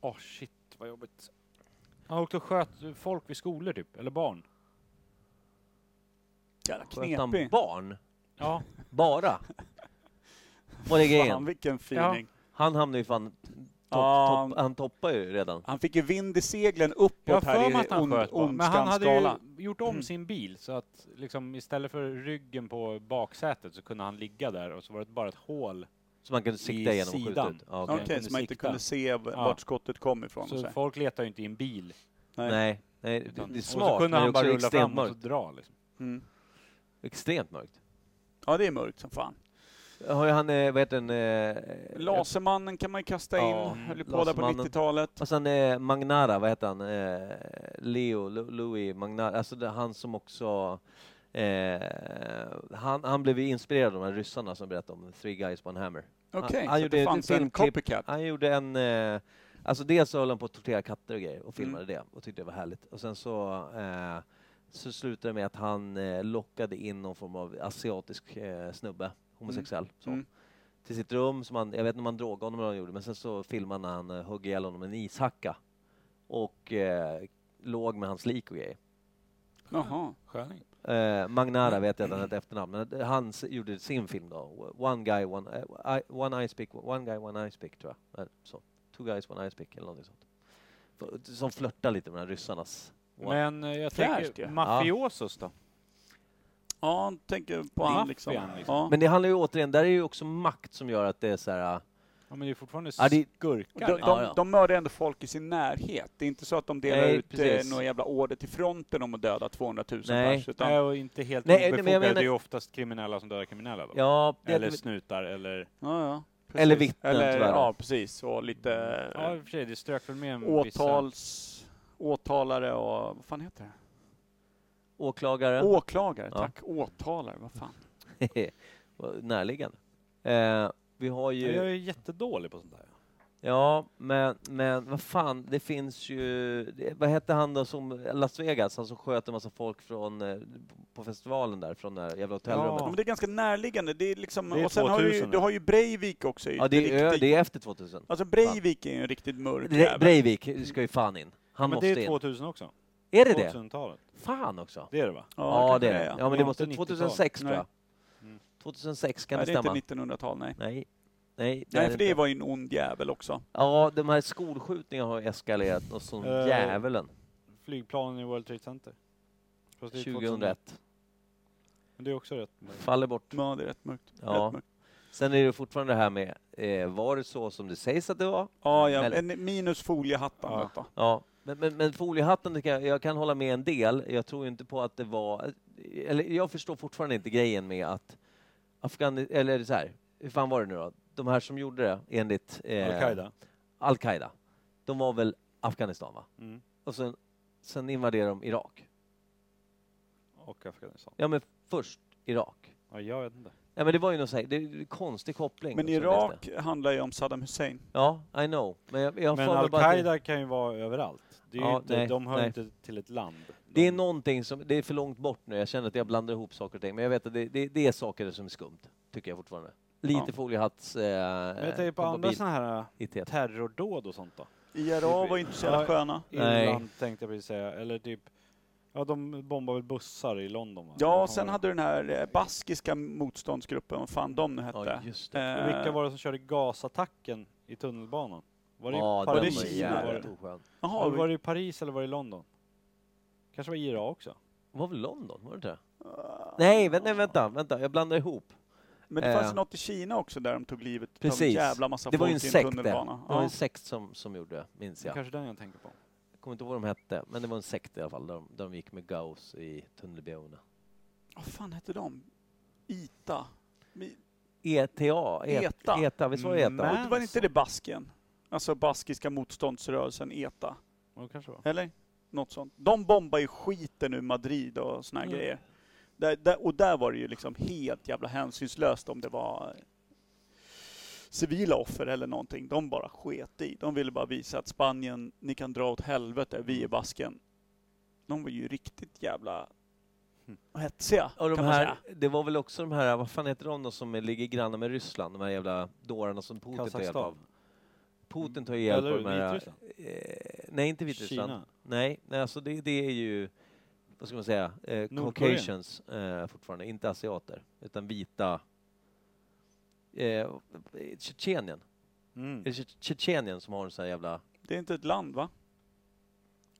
[SPEAKER 3] Åh shit vad jobbigt. Han åkte och sköt folk vid skolor typ, eller barn.
[SPEAKER 1] Jävla
[SPEAKER 2] Sköt han
[SPEAKER 1] knepig.
[SPEAKER 2] barn?
[SPEAKER 3] Ja, *laughs*
[SPEAKER 2] Bara? Var det
[SPEAKER 1] Fan
[SPEAKER 2] grejen?
[SPEAKER 1] vilken
[SPEAKER 3] Ja.
[SPEAKER 1] fining.
[SPEAKER 2] Han hamnade ju fan... Topp,
[SPEAKER 1] Ja.
[SPEAKER 2] topp, han toppar ju redan.
[SPEAKER 1] Han fick ju vind i seglen
[SPEAKER 3] jag har
[SPEAKER 1] uppåt
[SPEAKER 3] för mig
[SPEAKER 1] här
[SPEAKER 3] att
[SPEAKER 1] i
[SPEAKER 3] han
[SPEAKER 1] ond,
[SPEAKER 3] sköt barn. Men han
[SPEAKER 1] ondskans
[SPEAKER 3] hade
[SPEAKER 1] skala.
[SPEAKER 3] ju gjort om sin bil så att liksom istället för ryggen på baksätet så kunde han ligga där och så var det bara ett hål.
[SPEAKER 2] Så man kunde sikta
[SPEAKER 3] I
[SPEAKER 2] igenom och skjuta
[SPEAKER 3] sidan.
[SPEAKER 2] ut. Ja, okej.
[SPEAKER 1] Okej,
[SPEAKER 3] Han kunde
[SPEAKER 1] så man inte
[SPEAKER 3] sikta.
[SPEAKER 1] kunde se v-
[SPEAKER 3] Ja.
[SPEAKER 1] vart skottet kom ifrån.
[SPEAKER 3] Så
[SPEAKER 1] och så. här.
[SPEAKER 3] folk letar ju inte i en bil.
[SPEAKER 2] Nej, nej, det-
[SPEAKER 3] utan-
[SPEAKER 2] det är smart
[SPEAKER 3] och så
[SPEAKER 2] men
[SPEAKER 3] kunde
[SPEAKER 2] det är
[SPEAKER 3] han bara
[SPEAKER 2] också
[SPEAKER 3] rulla
[SPEAKER 2] extremt
[SPEAKER 3] fram och så
[SPEAKER 2] mörkt.
[SPEAKER 3] dra liksom.
[SPEAKER 1] Mm.
[SPEAKER 2] Extremt mörkt.
[SPEAKER 1] Ja, det är mörkt som fan.
[SPEAKER 2] Har ju han, eh, vad heter den? eh,
[SPEAKER 1] Lasermannen kan man ju kasta in,
[SPEAKER 2] Ja,
[SPEAKER 1] höll ju på där på
[SPEAKER 2] Lasermannen.
[SPEAKER 1] 90-talet.
[SPEAKER 2] Och sen eh, Magnara, vad heter han? Eh, Leo, Lu- Louis Magnara, alltså det, är han som också... Eh, han, han blev ju inspirerad av de här ryssarna som berättade om Three Guys One Hammer.
[SPEAKER 1] Okej,
[SPEAKER 2] han, han
[SPEAKER 1] så det
[SPEAKER 2] gjorde
[SPEAKER 1] fanns
[SPEAKER 2] ett
[SPEAKER 1] en
[SPEAKER 2] filmklipp.
[SPEAKER 1] copycat.
[SPEAKER 2] Han gjorde en... Eh, alltså dels så höll han på att tortera katter och grejer och filmade
[SPEAKER 1] Mm.
[SPEAKER 2] det och tyckte det var härligt. Och sen så, eh, så slutade det med att han eh, lockade in någon form av asiatisk eh, snubbe, homosexuell. Så
[SPEAKER 1] Mm.
[SPEAKER 2] till sitt rum. Som han, jag vet inte om han drogade honom eller vad han gjorde, men sen så filmade han när han eh, högg ihjäl honom med en ishacka. Och eh, låg med hans lik och grejer.
[SPEAKER 1] Jaha.
[SPEAKER 3] Sköning.
[SPEAKER 2] Eh,
[SPEAKER 3] Mm.
[SPEAKER 2] Magnara vet jag att han hette efternamn, men det- han s- gjorde sin film då. One guy, one, eh, I, one eye speak, one guy, one eye speak tror jag. Eh, så. Two guys, one eye speak eller någonting sånt. F- Som flörtar lite med de här ryssarnas...
[SPEAKER 3] Men eh, jag
[SPEAKER 1] Fräscht,
[SPEAKER 3] tänker,
[SPEAKER 1] ja.
[SPEAKER 3] mafiosos då?
[SPEAKER 1] Ja, tänker på han liksom.
[SPEAKER 3] Maffian, liksom.
[SPEAKER 1] Ja.
[SPEAKER 2] Men det handlar ju återigen, där är ju också makt som gör att det är så här... eh,
[SPEAKER 3] Ja men det är fortfarande
[SPEAKER 2] Ja, det-
[SPEAKER 3] skurkar.
[SPEAKER 1] De,
[SPEAKER 3] liksom.
[SPEAKER 2] Ja,
[SPEAKER 1] de,
[SPEAKER 2] ja.
[SPEAKER 1] de mördar ändå folk i sin närhet. Det är inte så att de delar
[SPEAKER 2] Nej,
[SPEAKER 1] ut
[SPEAKER 2] precis.
[SPEAKER 1] precis. några jävla order till fronten om att döda 200 000
[SPEAKER 2] Nej.
[SPEAKER 1] pers.
[SPEAKER 3] Nej,
[SPEAKER 1] Utan,
[SPEAKER 3] och inte helt
[SPEAKER 2] Nej, nej, men jag
[SPEAKER 3] obefogade.
[SPEAKER 2] menar-
[SPEAKER 3] Det är ju oftast kriminella som dödar kriminella då.
[SPEAKER 2] Ja, det,
[SPEAKER 3] Eller snutar eller...
[SPEAKER 1] ja, ja, precis.
[SPEAKER 2] Eller vittnen,
[SPEAKER 1] Eller,
[SPEAKER 2] tyvärr.
[SPEAKER 1] Ja, precis. Och lite eh,
[SPEAKER 3] Ja i och för sig, det strök väl med en
[SPEAKER 1] åtals, åtalare och vad fan heter det?
[SPEAKER 2] åklagare.
[SPEAKER 1] Åklagare,
[SPEAKER 2] Ja.
[SPEAKER 1] tack. Åtalare, vad fan.
[SPEAKER 2] Vad *laughs* Närliggande. Eh, vi har
[SPEAKER 3] Vissa... Jag
[SPEAKER 2] ju...
[SPEAKER 3] är jättedålig på sånt där.
[SPEAKER 2] Ja, men, men vad fan, det finns ju... det- Vad hette han då som... Las Vegas, han som sköt en massa folk från, eh, på festivalen där, från det här jävla hotellrummet.
[SPEAKER 1] Ja, men det är ganska närliggande. Det är liksom,
[SPEAKER 3] Det är
[SPEAKER 1] och sen har du,
[SPEAKER 3] 2000.
[SPEAKER 1] du har ju Breivik också.
[SPEAKER 2] Ja, det är, ö-
[SPEAKER 1] riktigt-
[SPEAKER 2] det är efter 2000.
[SPEAKER 1] Alltså Breivik är ju en riktigt mörk
[SPEAKER 2] Bre-
[SPEAKER 1] jävel.
[SPEAKER 2] Breivik ska ju fan in. Han
[SPEAKER 3] men
[SPEAKER 2] måste
[SPEAKER 3] det är
[SPEAKER 2] in.
[SPEAKER 3] 2000 också.
[SPEAKER 2] Är det det?
[SPEAKER 3] 2000-talet.
[SPEAKER 2] Fan också.
[SPEAKER 3] Det är det va?
[SPEAKER 2] Ja,
[SPEAKER 1] kanske
[SPEAKER 2] det är det. Ja, men det
[SPEAKER 3] Inte
[SPEAKER 2] måste...
[SPEAKER 3] 90-tal.
[SPEAKER 2] 2006 tror
[SPEAKER 1] Nej.
[SPEAKER 2] jag. 2006 kan
[SPEAKER 1] Nej,
[SPEAKER 2] det
[SPEAKER 1] det är inte
[SPEAKER 2] stämma.
[SPEAKER 1] 1900-tal, nej.
[SPEAKER 2] Nej. Nej,
[SPEAKER 1] Nej, för det
[SPEAKER 2] inte.
[SPEAKER 1] var ju en ond jävel också.
[SPEAKER 2] Ja, de här skolskjutningarna har ju eskalerat och som
[SPEAKER 3] Eh,
[SPEAKER 2] djävulen.
[SPEAKER 3] Flygplanen i World Trade Center. Fast det är
[SPEAKER 2] 2001.
[SPEAKER 3] Men det är också rätt.
[SPEAKER 2] Faller bort.
[SPEAKER 1] Ja, det är rätt mörkt.
[SPEAKER 2] Ja.
[SPEAKER 1] Rätt mörkt.
[SPEAKER 2] Sen är det fortfarande det här med, eh, var det så som det sägs att det var?
[SPEAKER 1] Ja, ja,
[SPEAKER 2] Men-
[SPEAKER 1] en minus foliehattarna. Ja.
[SPEAKER 2] Ja. Men, men, men foliehatten, det kan, jag- jag kan hålla med en del. Jag tror inte på att det var... Eller jag förstår fortfarande inte grejen med att Afghan... Eller är det så här, hur fan var det nu då? De här som gjorde det enligt... eh,
[SPEAKER 3] Al-Qaida.
[SPEAKER 2] Al-Qaida. De var väl Afghanistan, va?
[SPEAKER 3] Mm.
[SPEAKER 2] Och sen, sen invaderade de Irak.
[SPEAKER 3] Och Afghanistan.
[SPEAKER 2] Ja, men först Irak.
[SPEAKER 3] Ja, jag vet inte.
[SPEAKER 2] Nej men det var ju någon så här, det, det är en konstig koppling.
[SPEAKER 1] Men
[SPEAKER 2] som jag läste.
[SPEAKER 1] Irak handlar ju om Saddam Hussein.
[SPEAKER 2] Ja, I know. Men jag, jag
[SPEAKER 3] Men
[SPEAKER 2] får väl bara att det,
[SPEAKER 3] Al-Qaida kan ju vara överallt. Det är ju
[SPEAKER 2] Ja,
[SPEAKER 3] inte,
[SPEAKER 2] nej,
[SPEAKER 3] de hör
[SPEAKER 2] nej.
[SPEAKER 3] inte till ett land.
[SPEAKER 2] det är
[SPEAKER 3] De-
[SPEAKER 2] någonting som, det är för långt bort nu, jag känner att jag blandar ihop saker och ting. Men jag vet att det, det, det är saker som är skumt, tycker jag fortfarande. Lite
[SPEAKER 1] Ja.
[SPEAKER 2] foliehatts... Eh,
[SPEAKER 3] Men jag tänker på andra sådana här eh,
[SPEAKER 2] identitet.
[SPEAKER 3] terrordåd och sånt då.
[SPEAKER 1] IRA var ju inte så jävla
[SPEAKER 3] Ja.
[SPEAKER 1] sköna.
[SPEAKER 2] Nej.
[SPEAKER 3] Irland tänkte jag precis säga. Eller typ, ja de bombar väl bussar i London va?
[SPEAKER 1] Ja,
[SPEAKER 3] Vad fan
[SPEAKER 1] sen
[SPEAKER 3] var
[SPEAKER 1] hade du den här eh, baskiska motståndsgruppen, vad fan de nu hette.
[SPEAKER 2] Ja, just det.
[SPEAKER 3] det? Och
[SPEAKER 1] Eh,
[SPEAKER 3] Vilka var det som körde gasattacken i tunnelbanan? Var det
[SPEAKER 2] ja,
[SPEAKER 3] i
[SPEAKER 1] var
[SPEAKER 2] den
[SPEAKER 1] det
[SPEAKER 3] Paris?
[SPEAKER 2] var
[SPEAKER 1] Kina?
[SPEAKER 3] eller var
[SPEAKER 2] jävligt
[SPEAKER 3] det-
[SPEAKER 2] oskön.
[SPEAKER 1] Jaha,
[SPEAKER 3] Var det i Paris eller var det i London? Kanske var det i IRA också?
[SPEAKER 2] Var väl London? Var det inte det? Nej, vänta, nej, vänta, vänta, jag blandar ihop.
[SPEAKER 1] Ah. men det fanns
[SPEAKER 2] eh,
[SPEAKER 1] ju något i Kina också där de tog livet av en
[SPEAKER 2] Precis.
[SPEAKER 1] jävla massa
[SPEAKER 2] Det var
[SPEAKER 1] folk
[SPEAKER 2] ju
[SPEAKER 1] i
[SPEAKER 2] en
[SPEAKER 1] en
[SPEAKER 2] sekt det. Det
[SPEAKER 1] tunnelbana.
[SPEAKER 2] var
[SPEAKER 1] Ja.
[SPEAKER 2] en sekt som, som gjorde det, minns
[SPEAKER 3] Det är
[SPEAKER 2] jag.
[SPEAKER 3] kanske den jag tänker på.
[SPEAKER 2] Jag kommer inte ihåg vad de hette, men det var en sekt i alla fall. De, de gick med Gauss i tunnelbionerna.
[SPEAKER 1] Vad fan hette de? Ita? Mi-
[SPEAKER 2] ETA, E-
[SPEAKER 1] ETA.
[SPEAKER 2] ETA, visst var det ETA?
[SPEAKER 3] Men-
[SPEAKER 1] Det var inte det Basken? Alltså baskiska motståndsrörelsen ETA,
[SPEAKER 3] Ja, det kanske var.
[SPEAKER 1] eller? Något sånt. De bombar ju skiten ur Madrid och såna här
[SPEAKER 2] Mm.
[SPEAKER 1] grejer. Där, där, och där var det ju liksom helt jävla hänsynslöst om det var civila offer eller någonting. De bara sket i. De ville bara visa att Spanien, ni kan dra åt helvete, vi är Basken. De var ju riktigt jävla Hm. hetsiga,
[SPEAKER 2] Och de
[SPEAKER 1] kan man
[SPEAKER 2] här,
[SPEAKER 1] säga.
[SPEAKER 2] det var väl också de här, vad fan heter de då som ligger grannar med Ryssland? De här jävla dårarna som Putin tar hjälp av.
[SPEAKER 3] Kazakstan.
[SPEAKER 2] Putin tar hjälp av
[SPEAKER 3] Belarus,
[SPEAKER 2] de här...
[SPEAKER 3] Vitryssland.
[SPEAKER 2] Eh, nej, inte Vitryssland.
[SPEAKER 3] Kina.
[SPEAKER 2] Nej, nej, alltså det, det är ju, vad ska man säga, eh,
[SPEAKER 3] Nordkorea.
[SPEAKER 2] Caucasians eh, fortfarande, inte asiater, utan vita. Eh, Tjetjenien.
[SPEAKER 3] Mm.
[SPEAKER 2] Är det Tje- Tjetjenien som har en sån här jävla...
[SPEAKER 1] Det är inte ett land, va?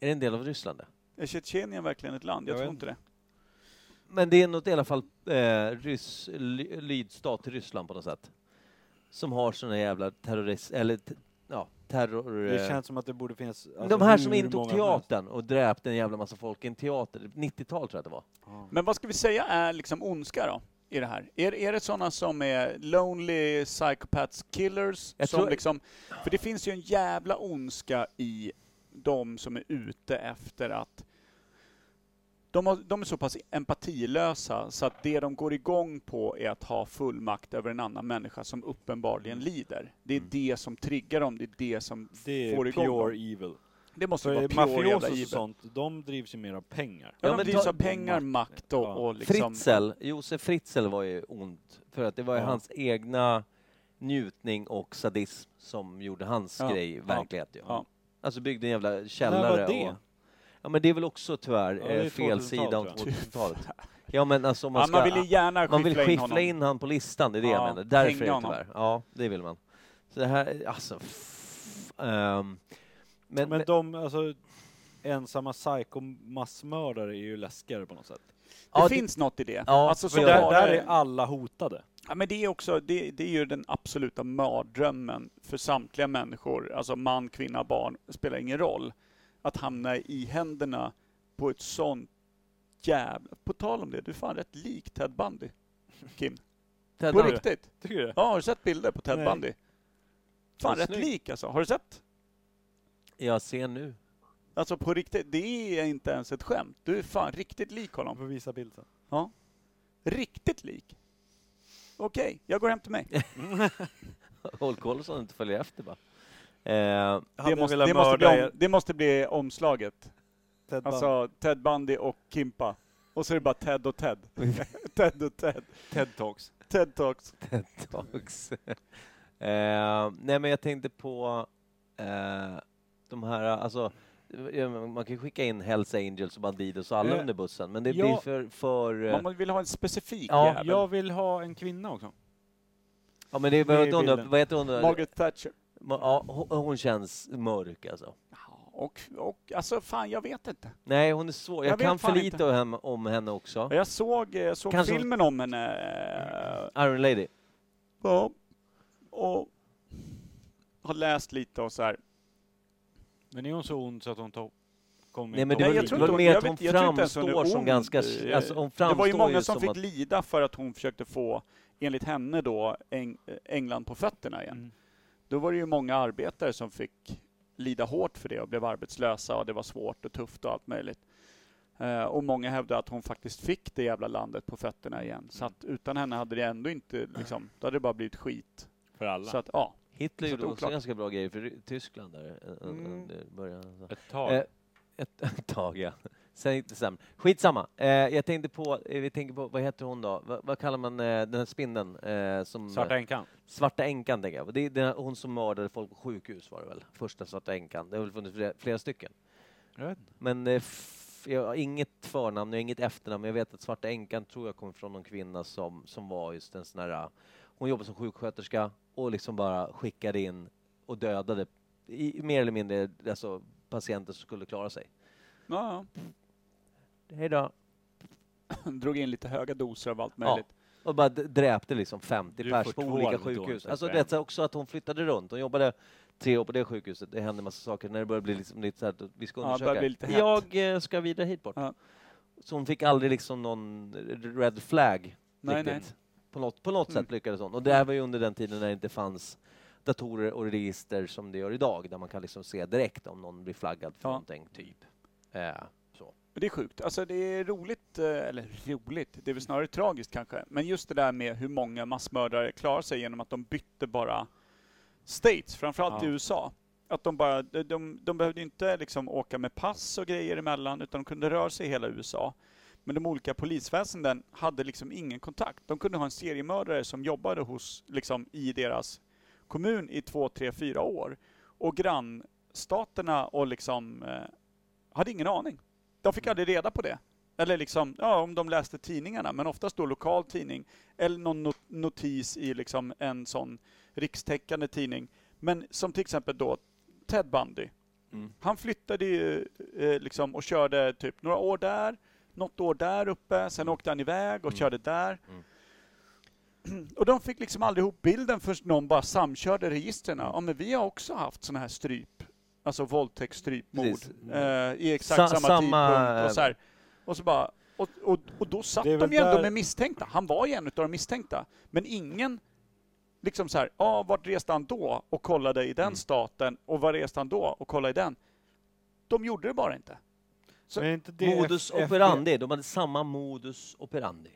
[SPEAKER 2] Är det en del av Ryssland? det?
[SPEAKER 1] Är Tjetjenien verkligen ett land? Jag,
[SPEAKER 3] Jag
[SPEAKER 1] tror
[SPEAKER 3] vet
[SPEAKER 1] inte det.
[SPEAKER 2] Men det är något i alla fall eh, ryss, ly, lydstat till Ryssland på något sätt. Som har såna jävla terrorist... Eller t- ja, terror...
[SPEAKER 3] Det
[SPEAKER 2] eh,
[SPEAKER 3] känns som att det borde finnas... alltså,
[SPEAKER 2] de här som
[SPEAKER 3] hur
[SPEAKER 2] intog
[SPEAKER 3] många som helst.
[SPEAKER 2] teatern och dräpte en jävla massa folk i en teater, 90-tal tror jag att det var.
[SPEAKER 3] Ja.
[SPEAKER 1] Men vad ska vi säga är liksom ondska då? I det här? Är, är det sådana som är lonely psychopaths killers?
[SPEAKER 2] Jag
[SPEAKER 1] som
[SPEAKER 2] tror-
[SPEAKER 1] liksom, för det finns ju en jävla ondska i de som är ute efter att de, har, de är så pass empatilösa så att det de går igång på är att ha full makt över en annan människa som uppenbarligen lider. Det är
[SPEAKER 2] Mm.
[SPEAKER 1] det som triggar dem, det är det som
[SPEAKER 3] Det är
[SPEAKER 1] får igång dem.
[SPEAKER 3] pure evil.
[SPEAKER 1] Det måste
[SPEAKER 3] För
[SPEAKER 1] vara pure jävla
[SPEAKER 3] mafiosos och
[SPEAKER 1] givet.
[SPEAKER 3] sånt, de drivs ju mer av pengar.
[SPEAKER 1] Ja,
[SPEAKER 2] Ja,
[SPEAKER 1] de
[SPEAKER 2] men
[SPEAKER 1] drivs
[SPEAKER 2] ta-
[SPEAKER 1] av pengar, makt och,
[SPEAKER 3] Ja.
[SPEAKER 1] och liksom...
[SPEAKER 2] Fritzl, Josef Fritzl var ju ond. För att det var ju
[SPEAKER 3] Ja.
[SPEAKER 2] hans egna njutning och sadism som gjorde hans
[SPEAKER 1] Ja.
[SPEAKER 2] grej verklighet. Ja.
[SPEAKER 1] Ja.
[SPEAKER 2] Alltså byggde en jävla
[SPEAKER 3] När
[SPEAKER 2] källare.
[SPEAKER 3] var det?
[SPEAKER 2] Och, ja men det är väl också tyvärr
[SPEAKER 3] Ja, det är
[SPEAKER 2] eh, fel sida om
[SPEAKER 3] 2000-talet,
[SPEAKER 2] 2000-talet. Ja men alltså om man
[SPEAKER 1] Ja,
[SPEAKER 2] ska...
[SPEAKER 1] man vill ju gärna
[SPEAKER 2] man vill
[SPEAKER 1] in
[SPEAKER 2] skiffla
[SPEAKER 1] honom.
[SPEAKER 2] in, han på listan, det är det
[SPEAKER 1] Ja,
[SPEAKER 2] jag menar. Därför är
[SPEAKER 1] hänga
[SPEAKER 2] det
[SPEAKER 1] honom.
[SPEAKER 2] tyvärr. Ja, det vill man. Så det här, alltså... F- ehm, men,
[SPEAKER 3] Men,
[SPEAKER 2] men,
[SPEAKER 3] de, alltså ensamma psykomassmördare är ju läskigare på något sätt.
[SPEAKER 1] Det
[SPEAKER 2] ja, det-
[SPEAKER 1] finns något i det.
[SPEAKER 2] Ja,
[SPEAKER 1] alltså,
[SPEAKER 2] för
[SPEAKER 1] så
[SPEAKER 3] För där,
[SPEAKER 1] var
[SPEAKER 3] där
[SPEAKER 1] det.
[SPEAKER 3] är alla hotade.
[SPEAKER 1] Ja, men det är också, det, det är ju den absoluta mardrömmen för samtliga människor, alltså man, kvinna, barn, spelar ingen roll. Att hamna i händerna på ett sånt jävla... På tal om det, du är fan rätt lik Ted Bundy, Kim.
[SPEAKER 2] Ted
[SPEAKER 1] På
[SPEAKER 2] Bundy.
[SPEAKER 1] riktigt.
[SPEAKER 3] Tycker du det?
[SPEAKER 1] Ja, har du sett bilder på Ted
[SPEAKER 3] Nej.
[SPEAKER 1] Bundy? Fan
[SPEAKER 3] Vad
[SPEAKER 1] rätt
[SPEAKER 3] snygg.
[SPEAKER 1] lik alltså, har du sett?
[SPEAKER 2] Jag
[SPEAKER 1] *laughs*
[SPEAKER 2] ser nu.
[SPEAKER 1] Alltså på riktigt, det är inte ens ett skämt. Du är fan riktigt lik
[SPEAKER 3] Man
[SPEAKER 1] honom.
[SPEAKER 3] får visa bild sen.
[SPEAKER 1] Riktigt lik. Okej, jag går hem till mig.
[SPEAKER 2] Håll koll så att du inte följer efter bara. Eh, *laughs*
[SPEAKER 1] Det måste, det, måste bli om, det måste bli omslaget.
[SPEAKER 3] Ted alltså,
[SPEAKER 1] Alltså Ted Bundy och Kimpa. Och så är det bara Ted och *laughs* Ted. Ted och Ted.
[SPEAKER 3] TED Talks.
[SPEAKER 1] Ted Talks.
[SPEAKER 2] ett tag sen. eh, nej men jag tänkte på eh, de här, alltså eh, man kan ju skicka in Hells Angels och Bandidos och alla
[SPEAKER 3] Eh,
[SPEAKER 2] under bussen, men det
[SPEAKER 3] ja.
[SPEAKER 2] blir för... för eh,
[SPEAKER 1] Man vill ha en specifik
[SPEAKER 2] Ja,
[SPEAKER 1] jävel.
[SPEAKER 3] Jag vill ha en kvinna också.
[SPEAKER 2] ja men det
[SPEAKER 3] det är
[SPEAKER 2] behöver inte undra,
[SPEAKER 3] bilden.
[SPEAKER 2] vad heter hon? då?
[SPEAKER 1] Margaret Thatcher.
[SPEAKER 2] Ma- Ja, hon, hon känns mörk alltså.
[SPEAKER 1] Ja, Och, och alltså fan, jag vet inte.
[SPEAKER 2] Nej hon är svår, jag,
[SPEAKER 1] Jag vet
[SPEAKER 2] kan för
[SPEAKER 1] fan
[SPEAKER 2] lite om henne, om henne också.
[SPEAKER 1] Jag såg, jag såg
[SPEAKER 2] Kanske-
[SPEAKER 1] filmen om henne. eh,
[SPEAKER 2] Iron Lady.
[SPEAKER 1] Ja. Och har läst lite och så här.
[SPEAKER 3] Men är hon så ond så att hon tar, kommer
[SPEAKER 2] Nej men det
[SPEAKER 1] Nej,
[SPEAKER 2] var,
[SPEAKER 1] jag
[SPEAKER 2] det
[SPEAKER 1] tror
[SPEAKER 2] var
[SPEAKER 1] inte hon-
[SPEAKER 2] mer
[SPEAKER 1] jag
[SPEAKER 2] att
[SPEAKER 1] vet-
[SPEAKER 2] hon
[SPEAKER 1] jag tror inte ens hon är
[SPEAKER 2] framstår som
[SPEAKER 1] ond.
[SPEAKER 2] ganska...
[SPEAKER 1] Eh,
[SPEAKER 2] Alltså hon
[SPEAKER 1] Det var
[SPEAKER 2] framstår
[SPEAKER 1] ju många som
[SPEAKER 2] som
[SPEAKER 1] fick
[SPEAKER 2] att,
[SPEAKER 1] lida för att hon försökte få, enligt henne då, Eng- England på fötterna igen.
[SPEAKER 3] Mm.
[SPEAKER 1] Då var det ju många arbetare som fick lida hårt för det och blev arbetslösa och det var svårt och tufft och allt möjligt. Eh, och många hävdar att hon faktiskt fick det jävla landet på fötterna igen. Så att utan henne hade det ändå inte liksom, då hade det bara blivit skit.
[SPEAKER 3] För alla.
[SPEAKER 1] Så att ja.
[SPEAKER 2] Hitler
[SPEAKER 1] Så
[SPEAKER 2] gjorde
[SPEAKER 1] det är
[SPEAKER 2] också
[SPEAKER 1] oklart.
[SPEAKER 2] ganska bra grejer för Ry- Tyskland där eh,
[SPEAKER 1] Mm.
[SPEAKER 2] under början.
[SPEAKER 3] Ett tag.
[SPEAKER 2] Eh, Ett, *laughs* ett tag, ja. Sen gick det sämre. Skitsamma. Eh, jag tänkte på, eh, vi tänker på, vad heter hon då? Va, vad kallar man eh, den här spindeln? Eh, som,
[SPEAKER 3] Svarta änkan.
[SPEAKER 2] Svarta änkan, tänker jag. Och Det är den här, hon som mördade folk på sjukhus var det väl? Första svarta änkan. Det har väl funnits flera, flera stycken.
[SPEAKER 3] Jag vet inte.
[SPEAKER 2] Men eh, f- jag har inget förnamn, jag har inget efternamn, men jag vet att Svarta Änkan tror jag kommer från någon kvinna som, som var just en sån här... eh, Hon jobbade som sjuksköterska och liksom bara skickade in och dödade i, mer eller mindre alltså, patienter som skulle klara sig.
[SPEAKER 1] ja,
[SPEAKER 2] Hej då.
[SPEAKER 1] ja. *laughs* Drog in lite höga doser av allt möjligt.
[SPEAKER 2] Och bara d- dräpte liksom 50
[SPEAKER 3] Du
[SPEAKER 2] pers
[SPEAKER 3] får
[SPEAKER 2] på
[SPEAKER 3] två
[SPEAKER 2] olika
[SPEAKER 3] Alvedon
[SPEAKER 2] sjukhus.
[SPEAKER 3] för
[SPEAKER 2] Alltså
[SPEAKER 3] fem.
[SPEAKER 2] det är också att hon flyttade runt. Hon jobbade tre år på det sjukhuset. Det hände en massa saker när det började bli liksom lite så här att vi ska
[SPEAKER 1] Ja, det började
[SPEAKER 2] undersöka.
[SPEAKER 1] bli lite hett.
[SPEAKER 2] jag eh, ska vidare hit bort.
[SPEAKER 1] Ja.
[SPEAKER 2] Så hon fick aldrig liksom någon red flag
[SPEAKER 1] Nej,
[SPEAKER 2] riktigt.
[SPEAKER 1] nej.
[SPEAKER 2] På något, på något
[SPEAKER 1] Mm.
[SPEAKER 2] sätt lyckades hon. Och det här var ju under den tiden när det inte fanns datorer och register som det gör idag, där man kan liksom se direkt om någon blir flaggad för
[SPEAKER 1] Ja.
[SPEAKER 2] någonting, typ. Eh, så.
[SPEAKER 1] Men Det är sjukt. Alltså det är roligt, eh, eller roligt, det är väl snarare tragiskt kanske. Men just det där med hur många massmördare klarar sig genom att de bytte bara states, framförallt
[SPEAKER 3] Ja.
[SPEAKER 1] i USA. Att de bara, de, de, de behövde ju inte liksom åka med pass och grejer emellan, utan de kunde röra sig i hela USA. Men de olika polisväsenden hade liksom ingen kontakt. De kunde ha en seriemördare som jobbade hos, liksom, i deras kommun i två, tre, fyra år. Och grannstaterna och liksom, eh, hade ingen aning. De fick aldrig reda på det. Eller liksom, ja, om de läste tidningarna, men oftast då lokal tidning eller någon not- notis i liksom en sån rikstäckande tidning. Men som till exempel då Ted Bundy.
[SPEAKER 2] Mm.
[SPEAKER 1] Han flyttade ju eh, liksom och körde typ några år där, något år där uppe, sen åkte han iväg och
[SPEAKER 2] Mm.
[SPEAKER 1] körde där. *clears throat* Och de fick liksom aldrig ihop bilden förrän någon bara samkörde registren.
[SPEAKER 2] Mm.
[SPEAKER 1] Ja, men vi har också haft såna här stryp, alltså våldtäktsstrypmord
[SPEAKER 2] Precis. Mm.
[SPEAKER 1] eh, i exakt
[SPEAKER 2] Sa-
[SPEAKER 1] samma,
[SPEAKER 2] samma- eh,
[SPEAKER 1] tidpunkt. Och så, här. och så bara och, och, och då satt
[SPEAKER 3] Det är
[SPEAKER 1] de
[SPEAKER 3] väl
[SPEAKER 1] ju ändå
[SPEAKER 3] där-
[SPEAKER 1] med misstänkta. Han var ju en av de misstänkta. Men ingen liksom så här, ja, ah, vart reste han då och kollade i den
[SPEAKER 2] Mm.
[SPEAKER 1] staten och var reste han då och kollade i den. De gjorde det bara inte. Så-
[SPEAKER 3] Men är inte det
[SPEAKER 2] Modus
[SPEAKER 3] F-
[SPEAKER 2] operandi, de hade samma modus operandi.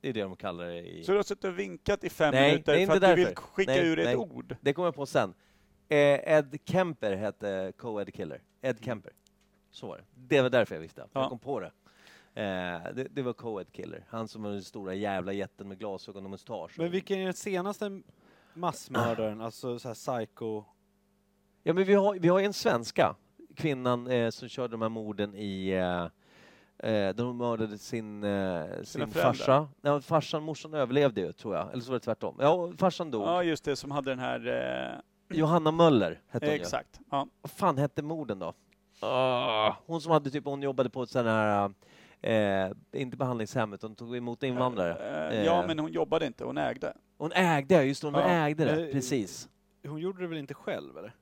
[SPEAKER 2] Det är det de kallar det i...
[SPEAKER 1] Så du har suttit och vinkat i fem
[SPEAKER 2] Nej,
[SPEAKER 1] minuter
[SPEAKER 2] det är
[SPEAKER 1] för att
[SPEAKER 2] inte
[SPEAKER 1] du vill
[SPEAKER 2] därför.
[SPEAKER 1] skicka
[SPEAKER 2] Nej,
[SPEAKER 1] ur
[SPEAKER 2] nej.
[SPEAKER 1] ett ord.
[SPEAKER 2] Det kommer jag på sen. Eh, Ed Kemper hette co-ed killer. Ed Kemper. Så var det. Det var därför jag visste.
[SPEAKER 1] Ja.
[SPEAKER 2] Jag kom på det. Eh, det, det var co-ed killer. Han som var den stora jävla jätten med glasögon och mustasch.
[SPEAKER 3] Men vilken är den senaste massmördaren, alltså så här psycho?
[SPEAKER 2] Ja, men vi har, vi har en svenska, kvinnan eh, som körde de här morden i... Eh, eh, där hon mördade sin, eh, sin
[SPEAKER 1] föräldrar.
[SPEAKER 2] farsa. Nej, farsan, morsan överlevde ju, tror jag. Eller så var det tvärtom. Ja, farsan dog.
[SPEAKER 1] Ja, just det, som hade den här...
[SPEAKER 2] Johanna Möller hette
[SPEAKER 1] Eh,
[SPEAKER 2] hon ju.
[SPEAKER 1] exakt. Ja.
[SPEAKER 2] Vad fan hette morden då? Ah, hon som hade typ, hon jobbade på ett sån här, eh, inte behandlingshem, utan tog emot invandrare.
[SPEAKER 1] Eh, ja,
[SPEAKER 2] Eh.
[SPEAKER 1] men hon jobbade inte, hon ägde.
[SPEAKER 2] Hon ägde, ja, just det, hon
[SPEAKER 1] Ja,
[SPEAKER 2] ägde det,
[SPEAKER 3] eh,
[SPEAKER 2] precis.
[SPEAKER 3] Hon gjorde det väl inte själv eller?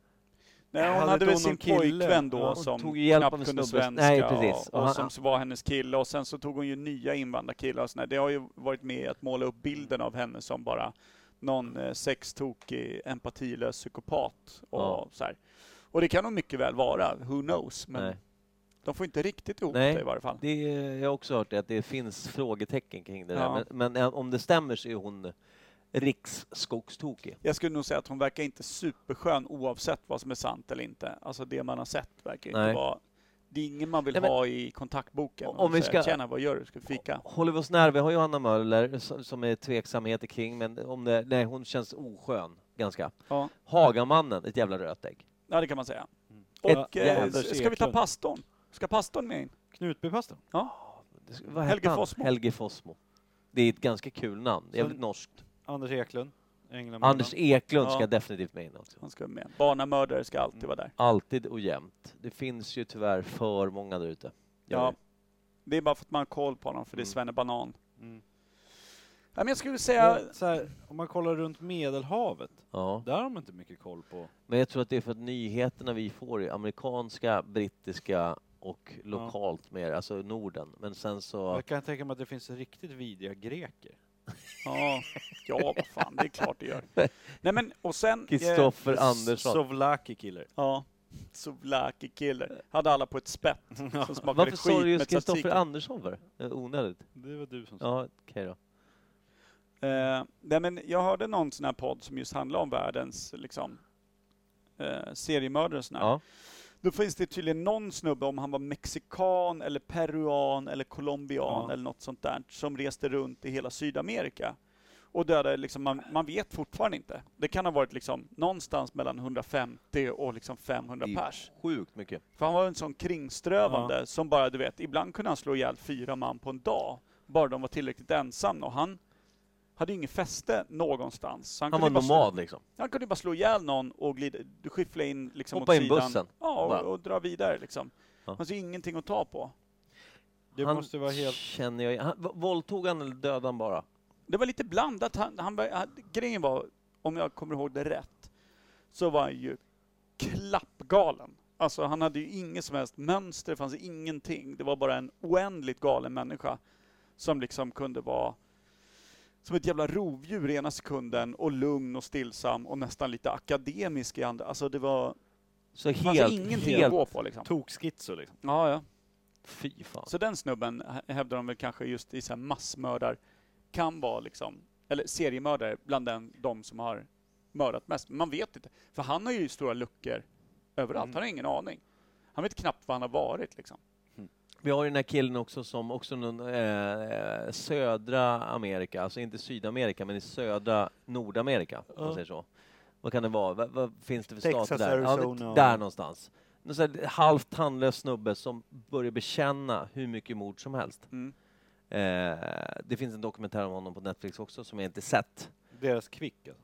[SPEAKER 1] Nej, hon
[SPEAKER 3] Hade
[SPEAKER 1] hade,
[SPEAKER 3] inte
[SPEAKER 1] väl
[SPEAKER 3] hon
[SPEAKER 1] sin
[SPEAKER 3] någon kille?
[SPEAKER 1] pojkvän då
[SPEAKER 2] Ja, hon
[SPEAKER 1] som
[SPEAKER 2] tog ju hjälp av en
[SPEAKER 1] knappt kunde
[SPEAKER 2] snubbe.
[SPEAKER 1] svenska
[SPEAKER 2] Nej, precis.
[SPEAKER 1] och,
[SPEAKER 2] Och
[SPEAKER 1] och
[SPEAKER 2] han-
[SPEAKER 1] som så var hennes kille och sen så tog hon ju nya invandrarkillar och sådär. Det har ju varit med i att måla upp bilden av henne som bara någon eh, sextokig, empatilös psykopat och
[SPEAKER 2] Ja.
[SPEAKER 1] så här. Och det kan hon mycket väl vara, who knows, men
[SPEAKER 2] Nej.
[SPEAKER 1] de får inte riktigt ihop
[SPEAKER 2] Nej.
[SPEAKER 1] det i varje fall.
[SPEAKER 2] Det, är- jag har också hört det, att det finns frågetecken kring det där,
[SPEAKER 1] Ja.
[SPEAKER 2] men, men eh, om det stämmer så är hon riksskogstokig.
[SPEAKER 1] Jag skulle nog säga att hon verkar inte superskön oavsett vad som är sant eller inte. Alltså det man har sett verkar
[SPEAKER 2] Nej.
[SPEAKER 1] inte vara... Det är ingen man vill
[SPEAKER 2] Nej, men-
[SPEAKER 1] ha i kontaktboken.
[SPEAKER 2] Om
[SPEAKER 1] Om
[SPEAKER 2] vi
[SPEAKER 1] vi säger,
[SPEAKER 2] ska-
[SPEAKER 1] Tjena, vad gör du? Ska vi fika?
[SPEAKER 2] Håller vi oss nära, vi har Johanna Möller som, som är tveksamheter kring, men om det, nej, hon känns oskön, ganska.
[SPEAKER 1] Ja.
[SPEAKER 2] Hagamannen, ett jävla rötägg.
[SPEAKER 1] Ja, det kan man säga.
[SPEAKER 2] Mm. Ett
[SPEAKER 1] Och
[SPEAKER 2] jävla
[SPEAKER 1] eh,
[SPEAKER 3] Anders
[SPEAKER 1] s- ska vi ta
[SPEAKER 3] Eklund.
[SPEAKER 1] pastorn? Ska pastorn med in?
[SPEAKER 3] Knutbypastorn?
[SPEAKER 2] Vad hette
[SPEAKER 1] Helge
[SPEAKER 2] han?
[SPEAKER 1] Fossmo.
[SPEAKER 2] Helge Fossmo. Det är ett ganska kul namn,
[SPEAKER 3] Så-
[SPEAKER 2] jävligt norskt.
[SPEAKER 3] Anders Eklund? Änglamålen.
[SPEAKER 2] Anders Eklund ska
[SPEAKER 1] Ja.
[SPEAKER 2] definitivt med in också.
[SPEAKER 1] Han ska med. Barnamördare ska alltid
[SPEAKER 2] Mm.
[SPEAKER 1] vara där.
[SPEAKER 2] Alltid och jämt. Det finns ju tyvärr för många där ute. Gör
[SPEAKER 1] Ja.
[SPEAKER 2] det.
[SPEAKER 1] Det är bara för att man har koll på honom, för det är
[SPEAKER 2] Mm.
[SPEAKER 1] Svenne Banan.
[SPEAKER 3] Mm.
[SPEAKER 1] Ja, men jag skulle
[SPEAKER 3] Ja,
[SPEAKER 1] säga...
[SPEAKER 3] så här, om man kollar runt Medelhavet,
[SPEAKER 2] ja.
[SPEAKER 3] där har de inte mycket koll på.
[SPEAKER 2] Men jag tror att det är för att nyheterna vi får är amerikanska, brittiska och lokalt mer, alltså Norden. Men sen så...
[SPEAKER 3] Jag kan tänka mig att det finns riktigt vidriga greker.
[SPEAKER 1] Ja, ja vad fan,
[SPEAKER 2] *laughs*
[SPEAKER 1] det är klart det gör. Nej men, och sen... eh,
[SPEAKER 2] Kristoffer Andersson.
[SPEAKER 3] Sovlaki killer.
[SPEAKER 1] Ja. Katsu Vlaki Killer. Hade alla på ett
[SPEAKER 2] *laughs*
[SPEAKER 1] spett som smakade
[SPEAKER 2] Varför sa du
[SPEAKER 1] skit
[SPEAKER 2] just
[SPEAKER 1] med
[SPEAKER 2] Kristoffer
[SPEAKER 1] tzatziki.
[SPEAKER 2] Andersson för? Eh, Onödigt.
[SPEAKER 3] Det var du som sa.
[SPEAKER 2] Ja, okej då.
[SPEAKER 1] Eh, nej men jag hörde någon sån här podd som just handlar om världens liksom, eh, seriemördare och sån här.
[SPEAKER 2] Ja.
[SPEAKER 1] Då finns det tydligen någon snubbe, om han var mexikan eller peruan eller colombian
[SPEAKER 3] Ja.
[SPEAKER 1] eller något sånt där, som reste runt i hela Sydamerika och dödade liksom, man, man vet fortfarande inte. Det kan ha varit liksom någonstans mellan 150 och liksom 500
[SPEAKER 2] Det är
[SPEAKER 1] pers.
[SPEAKER 2] Sjukt mycket.
[SPEAKER 1] För han var en sån kringströvande som bara, du vet, ibland kunde han slå ihjäl fyra man på en dag, bara de var tillräckligt ensamma. Och han hade ju inget fäste någonstans. Så
[SPEAKER 2] Han var
[SPEAKER 1] kunde bara
[SPEAKER 2] nomad liksom.
[SPEAKER 1] Slå, han kunde ju bara slå ihjäl någon och glida, skyffla in liksom
[SPEAKER 2] Hoppa
[SPEAKER 1] åt
[SPEAKER 2] in
[SPEAKER 1] sidan.
[SPEAKER 2] bussen.
[SPEAKER 1] Ja,
[SPEAKER 2] Bara.
[SPEAKER 1] och, och dra vidare liksom.
[SPEAKER 2] Ja.
[SPEAKER 1] Han ser ingenting att ta på.
[SPEAKER 3] Det
[SPEAKER 2] han
[SPEAKER 3] måste vara helt...
[SPEAKER 2] känner jag han, v- Våldtog han eller dödade han bara?
[SPEAKER 1] Det var lite blandat. Han, han, var- han, grejen var, om jag kommer ihåg det rätt, så var han ju klappgalen. Alltså han hade ju inget som helst mönster, det fanns ingenting. Det var bara en oändligt galen människa som liksom kunde vara som ett jävla rovdjur ena sekunden och lugn och stillsam och nästan lite akademisk i andra. Alltså det var...
[SPEAKER 2] Så
[SPEAKER 1] Det fanns
[SPEAKER 2] helt,
[SPEAKER 1] Alltså, ingenting att
[SPEAKER 2] helt...
[SPEAKER 1] gå på liksom.
[SPEAKER 3] Tokskitso liksom.
[SPEAKER 1] Ja, ja.
[SPEAKER 2] Fy fan.
[SPEAKER 1] Så den snubben hä- hävdar de väl kanske just i så här massmördar kan vara liksom, eller seriemördare bland den, de som har mördat mest. Man vet inte, för han har ju stora luckor överallt.
[SPEAKER 3] Mm.
[SPEAKER 1] Han har ingen aning. Han vet knappt var han har varit liksom.
[SPEAKER 2] Vi har ju den här killen också som också någon, eh, södra Amerika, alltså inte Sydamerika men i södra Nordamerika om man
[SPEAKER 3] Ja.
[SPEAKER 2] säger så. Vad kan det vara? Vad, vad finns det för
[SPEAKER 7] Texas,
[SPEAKER 2] stater där? Ja,
[SPEAKER 7] Arizona.
[SPEAKER 2] men där någonstans. Någon sån här halvt tandlös snubbe som börjar bekänna hur mycket mord som helst.
[SPEAKER 1] Mm.
[SPEAKER 2] Eh, det finns en dokumentär om honom på Netflix också som jag inte sett.
[SPEAKER 3] Deras kvick alltså.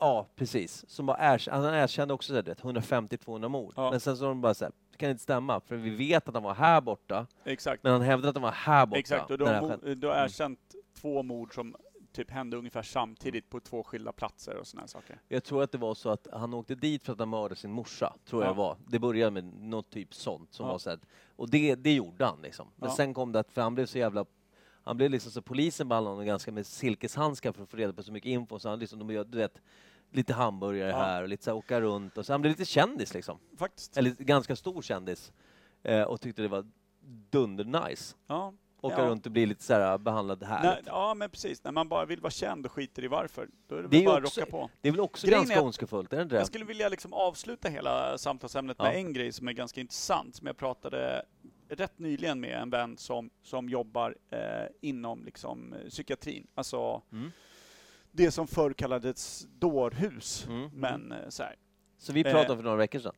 [SPEAKER 2] Ja, precis. Som bara erk- han erkände också så här, du vet, 150-200 mord.
[SPEAKER 1] Ja.
[SPEAKER 2] Men sen så har de bara så här, det kan inte stämma för vi vet att han var här borta,
[SPEAKER 1] Exakt.
[SPEAKER 2] men han hävdade att han var här borta.
[SPEAKER 1] Exakt, och
[SPEAKER 2] när
[SPEAKER 1] du
[SPEAKER 2] det
[SPEAKER 1] har,
[SPEAKER 2] här
[SPEAKER 1] mo-
[SPEAKER 2] skedde.
[SPEAKER 1] du har erkänt två mord som typ hände ungefär samtidigt på två skilda platser och sådana saker.
[SPEAKER 2] Jag tror att det var så att han åkte dit för att han mördade sin morsa, tror
[SPEAKER 1] Ja.
[SPEAKER 2] jag det var. Det började med något typ sånt som
[SPEAKER 1] Ja.
[SPEAKER 2] var så här, och det, det gjorde han liksom. Men
[SPEAKER 1] Ja.
[SPEAKER 2] sen kom det att, för han blev så jävla han blev liksom så polisen ballade honom ganska med silkeshandskar för att få reda på så mycket info så han liksom, de gör, du vet, lite hamburgare
[SPEAKER 1] Ja.
[SPEAKER 2] här och lite så här, åka runt och så han blev lite kändis liksom.
[SPEAKER 1] Faktiskt.
[SPEAKER 2] Eller ganska stor kändis. Eh, och tyckte det var dunder-nice.
[SPEAKER 1] ja.
[SPEAKER 2] Åka
[SPEAKER 1] Ja.
[SPEAKER 2] runt och bli lite så här behandlad
[SPEAKER 1] När,
[SPEAKER 2] här.
[SPEAKER 1] ja, men precis. När man bara vill vara känd och skiter i varför, då är det,
[SPEAKER 2] Det är
[SPEAKER 1] väl
[SPEAKER 2] ju
[SPEAKER 1] bara att
[SPEAKER 2] också-
[SPEAKER 1] rocka på.
[SPEAKER 2] Det är väl också
[SPEAKER 1] Grejen är
[SPEAKER 2] ganska
[SPEAKER 1] att-
[SPEAKER 2] ondskefullt, är det inte det?
[SPEAKER 1] Jag skulle vilja liksom avsluta hela samtalsämnet med
[SPEAKER 2] Ja.
[SPEAKER 1] en grej som är ganska intressant, som jag pratade rätt nyligen med en vän som, som jobbar eh, inom liksom, eh, psykiatrin. Alltså
[SPEAKER 2] Mm.
[SPEAKER 1] det som förr kallades dårhus,
[SPEAKER 2] Mm.
[SPEAKER 1] men eh, så här.
[SPEAKER 2] Så vi
[SPEAKER 1] Eh,
[SPEAKER 2] pratade för några veckor sedan.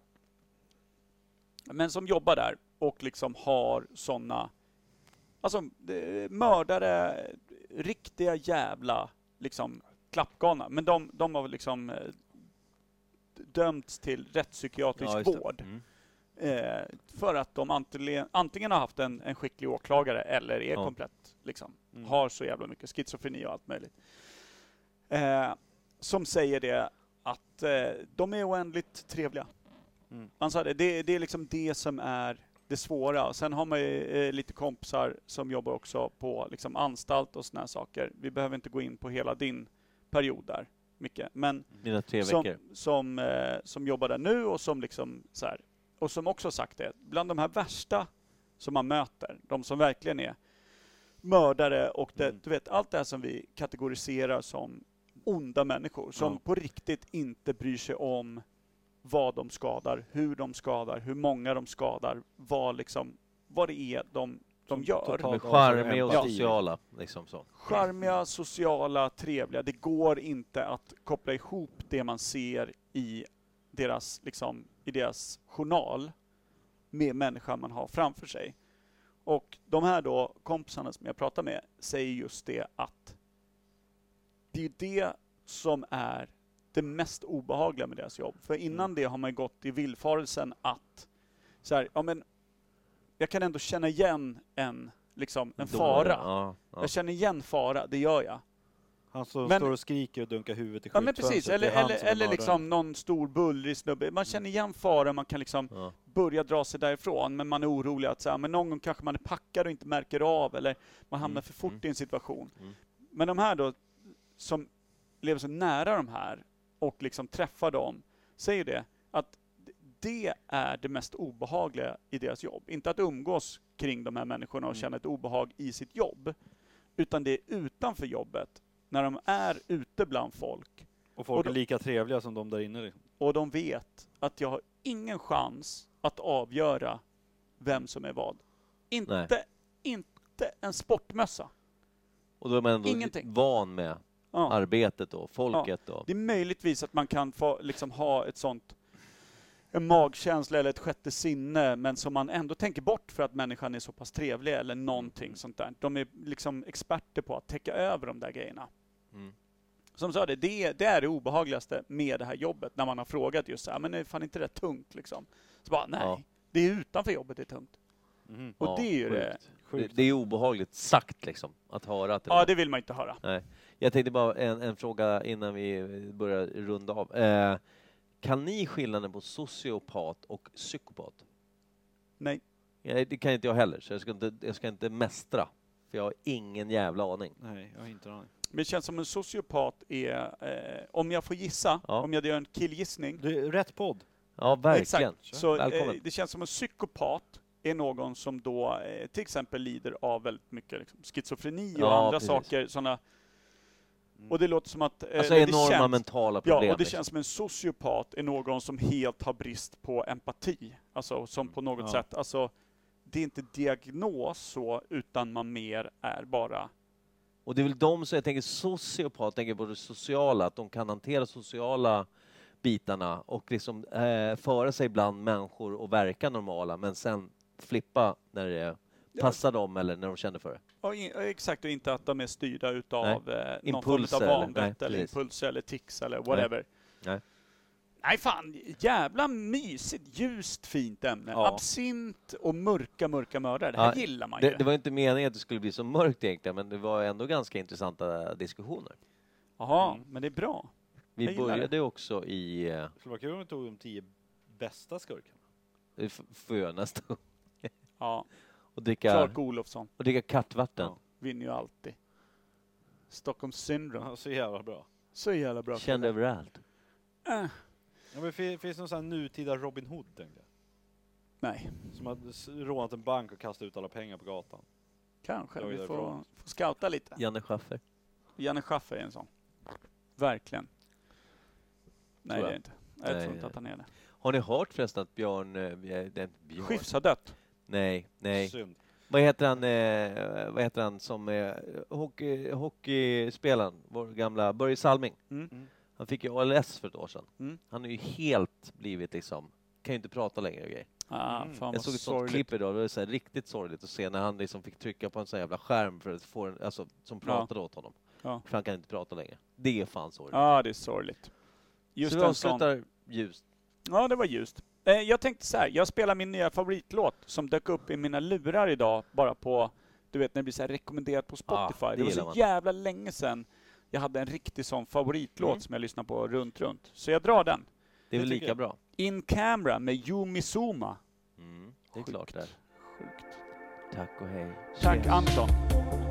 [SPEAKER 1] Men som jobbar där och liksom har såna, alltså eh, mördare, riktiga jävla liksom klappgalna. Men de, de har liksom eh, dömts till rättspsykiatrisk
[SPEAKER 2] just det.
[SPEAKER 1] vård.
[SPEAKER 2] Mm.
[SPEAKER 1] Eh, för att de antingen, antingen har haft en, en skicklig åklagare eller är
[SPEAKER 2] Ja.
[SPEAKER 1] komplett, liksom,
[SPEAKER 7] Mm.
[SPEAKER 3] Mm.
[SPEAKER 1] har så jävla mycket schizofreni och allt möjligt. Eh, som säger det att eh, de är oändligt trevliga.
[SPEAKER 3] Mm.
[SPEAKER 1] Man sa det, det, det är liksom det som är det svåra. Sen har man ju eh, lite kompisar som jobbar också på liksom, anstalt och såna här saker. Vi behöver inte gå in på hela din period där, Micke. Men
[SPEAKER 2] Mina tre
[SPEAKER 1] som,
[SPEAKER 2] veckor.
[SPEAKER 1] som, eh, som jobbar där nu och som liksom så här, och som också har sagt det, bland de här värsta som man möter, de som verkligen är mördare och
[SPEAKER 3] Mm.
[SPEAKER 1] det, du vet, allt det här som vi kategoriserar som onda människor, som
[SPEAKER 3] Ja.
[SPEAKER 1] på riktigt inte bryr sig om vad de skadar, hur de skadar, hur många de skadar, vad, liksom, vad det är de, de
[SPEAKER 3] Som
[SPEAKER 1] gör.
[SPEAKER 3] totalt-
[SPEAKER 2] De är
[SPEAKER 3] Ja,
[SPEAKER 2] charmiga och
[SPEAKER 1] ja.
[SPEAKER 2] sociala. Liksom så.
[SPEAKER 1] Charmiga, sociala, trevliga. Det går inte att koppla ihop det man ser i deras, liksom, i deras journal med människan man har framför sig. Och de här då kompisarna som jag pratar med säger just det att det är det som är det mest obehagliga med deras jobb. För innan det har man ju gått i villfarelsen att så här, ja men jag kan ändå känna igen en, liksom, en
[SPEAKER 2] Då-
[SPEAKER 1] fara.
[SPEAKER 2] Ja, ja.
[SPEAKER 1] Jag känner igen fara, det gör jag.
[SPEAKER 7] Han som
[SPEAKER 1] Men-
[SPEAKER 7] står och skriker och dunkar huvudet i
[SPEAKER 1] Ja men precis,
[SPEAKER 7] skyltfönstret, det
[SPEAKER 1] eller,
[SPEAKER 7] är han
[SPEAKER 1] eller,
[SPEAKER 7] som är
[SPEAKER 1] eller
[SPEAKER 7] mördaren.
[SPEAKER 1] liksom någon stor bullrig snubbe. Man känner igen fara, man kan liksom
[SPEAKER 2] Ja.
[SPEAKER 1] börja dra sig därifrån, men man är orolig att så här, men någon gång kanske man är packad och inte märker av, eller man hamnar
[SPEAKER 2] Mm,
[SPEAKER 1] för fort
[SPEAKER 2] mm.
[SPEAKER 1] i en situation.
[SPEAKER 2] Mm.
[SPEAKER 1] Men de här då, som lever så nära de här och liksom träffar dem, säger det att det är det mest obehagliga i deras jobb. Inte att umgås kring de här människorna
[SPEAKER 2] Mm.
[SPEAKER 1] och känna ett obehag i sitt jobb, utan det är utanför jobbet, när de är ute bland folk
[SPEAKER 7] Och folk
[SPEAKER 1] Och då-
[SPEAKER 7] är lika trevliga som de där inne. liksom.
[SPEAKER 1] och de vet att jag har ingen chans att avgöra vem som är vad. Inte, inte en sportmössa.
[SPEAKER 2] Och då är man ändå
[SPEAKER 1] Ingenting.
[SPEAKER 2] van med
[SPEAKER 1] Ja.
[SPEAKER 2] arbetet och folket och...
[SPEAKER 1] Det är möjligtvis att man kan få liksom ha ett sånt en magkänsla eller ett sjätte sinne men som man ändå tänker bort för att människan är så pass trevlig eller någonting sånt där. De är liksom experter på att täcka över de där grejerna.
[SPEAKER 2] Mm.
[SPEAKER 1] Som sa det, det, det är det obehagligaste med det här jobbet när man har frågat just så här, men är fan inte det tungt liksom? Så bara, nej,
[SPEAKER 2] Ja.
[SPEAKER 1] det är utanför jobbet det är tungt.
[SPEAKER 7] Mhm.
[SPEAKER 1] Och
[SPEAKER 2] Ja,
[SPEAKER 1] det är ju det.
[SPEAKER 2] sjukt. det. Det är obehagligt sagt liksom, att höra att det
[SPEAKER 1] Ja, det vill man inte höra.
[SPEAKER 2] Jag tänkte bara en, en fråga innan vi börjar runda av. Eh, kan ni skillnaden på sociopat och psykopat?
[SPEAKER 1] Nej.
[SPEAKER 2] Ja, det kan inte jag heller, så jag ska inte, jag ska inte mästra. För jag har ingen jävla aning.
[SPEAKER 7] Nej, jag har inte en aning.
[SPEAKER 1] Men det känns som en sociopat är, eh, om jag får gissa,
[SPEAKER 2] Ja.
[SPEAKER 1] om jag gör en killgissning,
[SPEAKER 7] Det är rätt podd.
[SPEAKER 2] Ja, verkligen.
[SPEAKER 1] Exakt. Så eh,
[SPEAKER 2] Välkommen.
[SPEAKER 1] det känns som en psykopat är någon som då eh, till exempel lider av väldigt mycket liksom, schizofreni och
[SPEAKER 2] Ja,
[SPEAKER 1] andra
[SPEAKER 2] precis.
[SPEAKER 1] saker. Såna, och det låter som att... eh,
[SPEAKER 2] Alltså
[SPEAKER 1] men det
[SPEAKER 2] enorma
[SPEAKER 1] känns-
[SPEAKER 2] mentala problem.
[SPEAKER 1] Ja, och det
[SPEAKER 2] liksom.
[SPEAKER 1] känns som en sociopat är någon som helt har brist på empati. Alltså som på något
[SPEAKER 7] Ja.
[SPEAKER 1] sätt, alltså det är inte diagnos så, utan man mer är bara...
[SPEAKER 2] Och det är väl de som jag tänker sociopat, tänker på det sociala, att de kan hantera sociala bitarna och liksom eh, föra sig bland människor och verka normala men sen flippa när det passar dem eller när de känner för det.
[SPEAKER 1] Ja, i- exakt, och inte att de är styrda utav eh, någon form
[SPEAKER 2] Impulser
[SPEAKER 1] utav
[SPEAKER 2] eller-
[SPEAKER 1] vanvett
[SPEAKER 2] nej,
[SPEAKER 1] eller
[SPEAKER 2] precis.
[SPEAKER 1] impulser eller tics eller whatever.
[SPEAKER 2] Nej.
[SPEAKER 1] Nej fan, jävla mysigt, ljust, fint ämne.
[SPEAKER 2] Ja.
[SPEAKER 1] Absint och mörka, mörka mördare. Det här
[SPEAKER 2] Ja,
[SPEAKER 1] gillar man ju.
[SPEAKER 2] Det, det var inte meningen att det skulle bli så mörkt egentligen men det var ändå ganska intressanta diskussioner.
[SPEAKER 1] Jaha, men det är bra. Jag
[SPEAKER 2] Vi
[SPEAKER 1] gillar det.
[SPEAKER 2] började ju också i, eh,
[SPEAKER 7] Det Mm. skulle vara kul om vi tog de tio bästa skurkarna.
[SPEAKER 2] f- får jag nästa gång,
[SPEAKER 1] Ja,
[SPEAKER 2] och dricka,
[SPEAKER 1] Clark Olofsson
[SPEAKER 2] och dricka kattvatten.
[SPEAKER 1] vinner ju alltid. Stockholm Syndrome.
[SPEAKER 7] *laughs* Ja, så jävla bra.
[SPEAKER 1] Så jävla bra. Äh,
[SPEAKER 2] Kände överallt.
[SPEAKER 7] Ja, men fi- finns det någon sån här nutida Robin Hood tänkte
[SPEAKER 1] Nej,
[SPEAKER 7] jag? Som hade s- rånat en bank och kastat ut alla pengar på gatan.
[SPEAKER 1] kanske.
[SPEAKER 7] Det var
[SPEAKER 1] Vi
[SPEAKER 7] ju
[SPEAKER 1] får,
[SPEAKER 7] bra.
[SPEAKER 1] får scouta lite.
[SPEAKER 2] Janne Schaffer.
[SPEAKER 1] Janne Schaffer är en sån. Verkligen. Nej, det är
[SPEAKER 2] Tror jag.
[SPEAKER 1] det inte. Jag
[SPEAKER 2] Nej,
[SPEAKER 1] tror inte att han är det.
[SPEAKER 2] Har ni hört förresten att Björn... eh, Bjär- det är inte Björn.
[SPEAKER 1] Schiffs har dött.
[SPEAKER 2] Nej, nej.
[SPEAKER 7] Synd.
[SPEAKER 2] Vad heter han, eh, vad heter han som är hockey, hockeyspelaren, vår gamla Börje Salming.
[SPEAKER 1] Mm.
[SPEAKER 7] Mm.
[SPEAKER 2] Han fick ju ALS för ett år sedan.
[SPEAKER 1] Mm.
[SPEAKER 2] Han har ju helt blivit liksom, kan ju inte prata längre och grejer.
[SPEAKER 1] Ah,
[SPEAKER 7] Mm.
[SPEAKER 1] fan
[SPEAKER 2] Jag
[SPEAKER 1] vad
[SPEAKER 2] såg ett sånt
[SPEAKER 1] sorgligt.
[SPEAKER 2] klipp idag, det var så här riktigt sorgligt att se när han liksom fick trycka på en sån här jävla skärm för att få en, alltså, som pratade åt honom.
[SPEAKER 1] Ja.
[SPEAKER 2] För han kan inte prata längre. Det är fan sorgligt.
[SPEAKER 1] Ja, ah, det är sorgligt. Just
[SPEAKER 2] så vi
[SPEAKER 1] en sån.
[SPEAKER 2] avslutar ljust.
[SPEAKER 1] Ja, det var ljust. Eh, jag tänkte så här, jag spelar min nya favoritlåt som dök upp i mina lurar idag, bara på, du vet när det blir så här rekommenderat på Spotify.
[SPEAKER 2] Ah, det
[SPEAKER 1] det var
[SPEAKER 2] gillar
[SPEAKER 1] så
[SPEAKER 2] man.
[SPEAKER 1] jävla länge sedan jag hade en riktig sån favoritlåt
[SPEAKER 2] Mm.
[SPEAKER 1] som jag lyssnar på runt, runt. Så jag drar den.
[SPEAKER 2] Det är väl
[SPEAKER 7] tycker
[SPEAKER 2] lika
[SPEAKER 7] jag.
[SPEAKER 2] bra.
[SPEAKER 1] In Camera med Yumi Suma.
[SPEAKER 2] Mm, det är klart
[SPEAKER 1] Sjukt.
[SPEAKER 2] där. Tack och hej.
[SPEAKER 1] Tack Anton.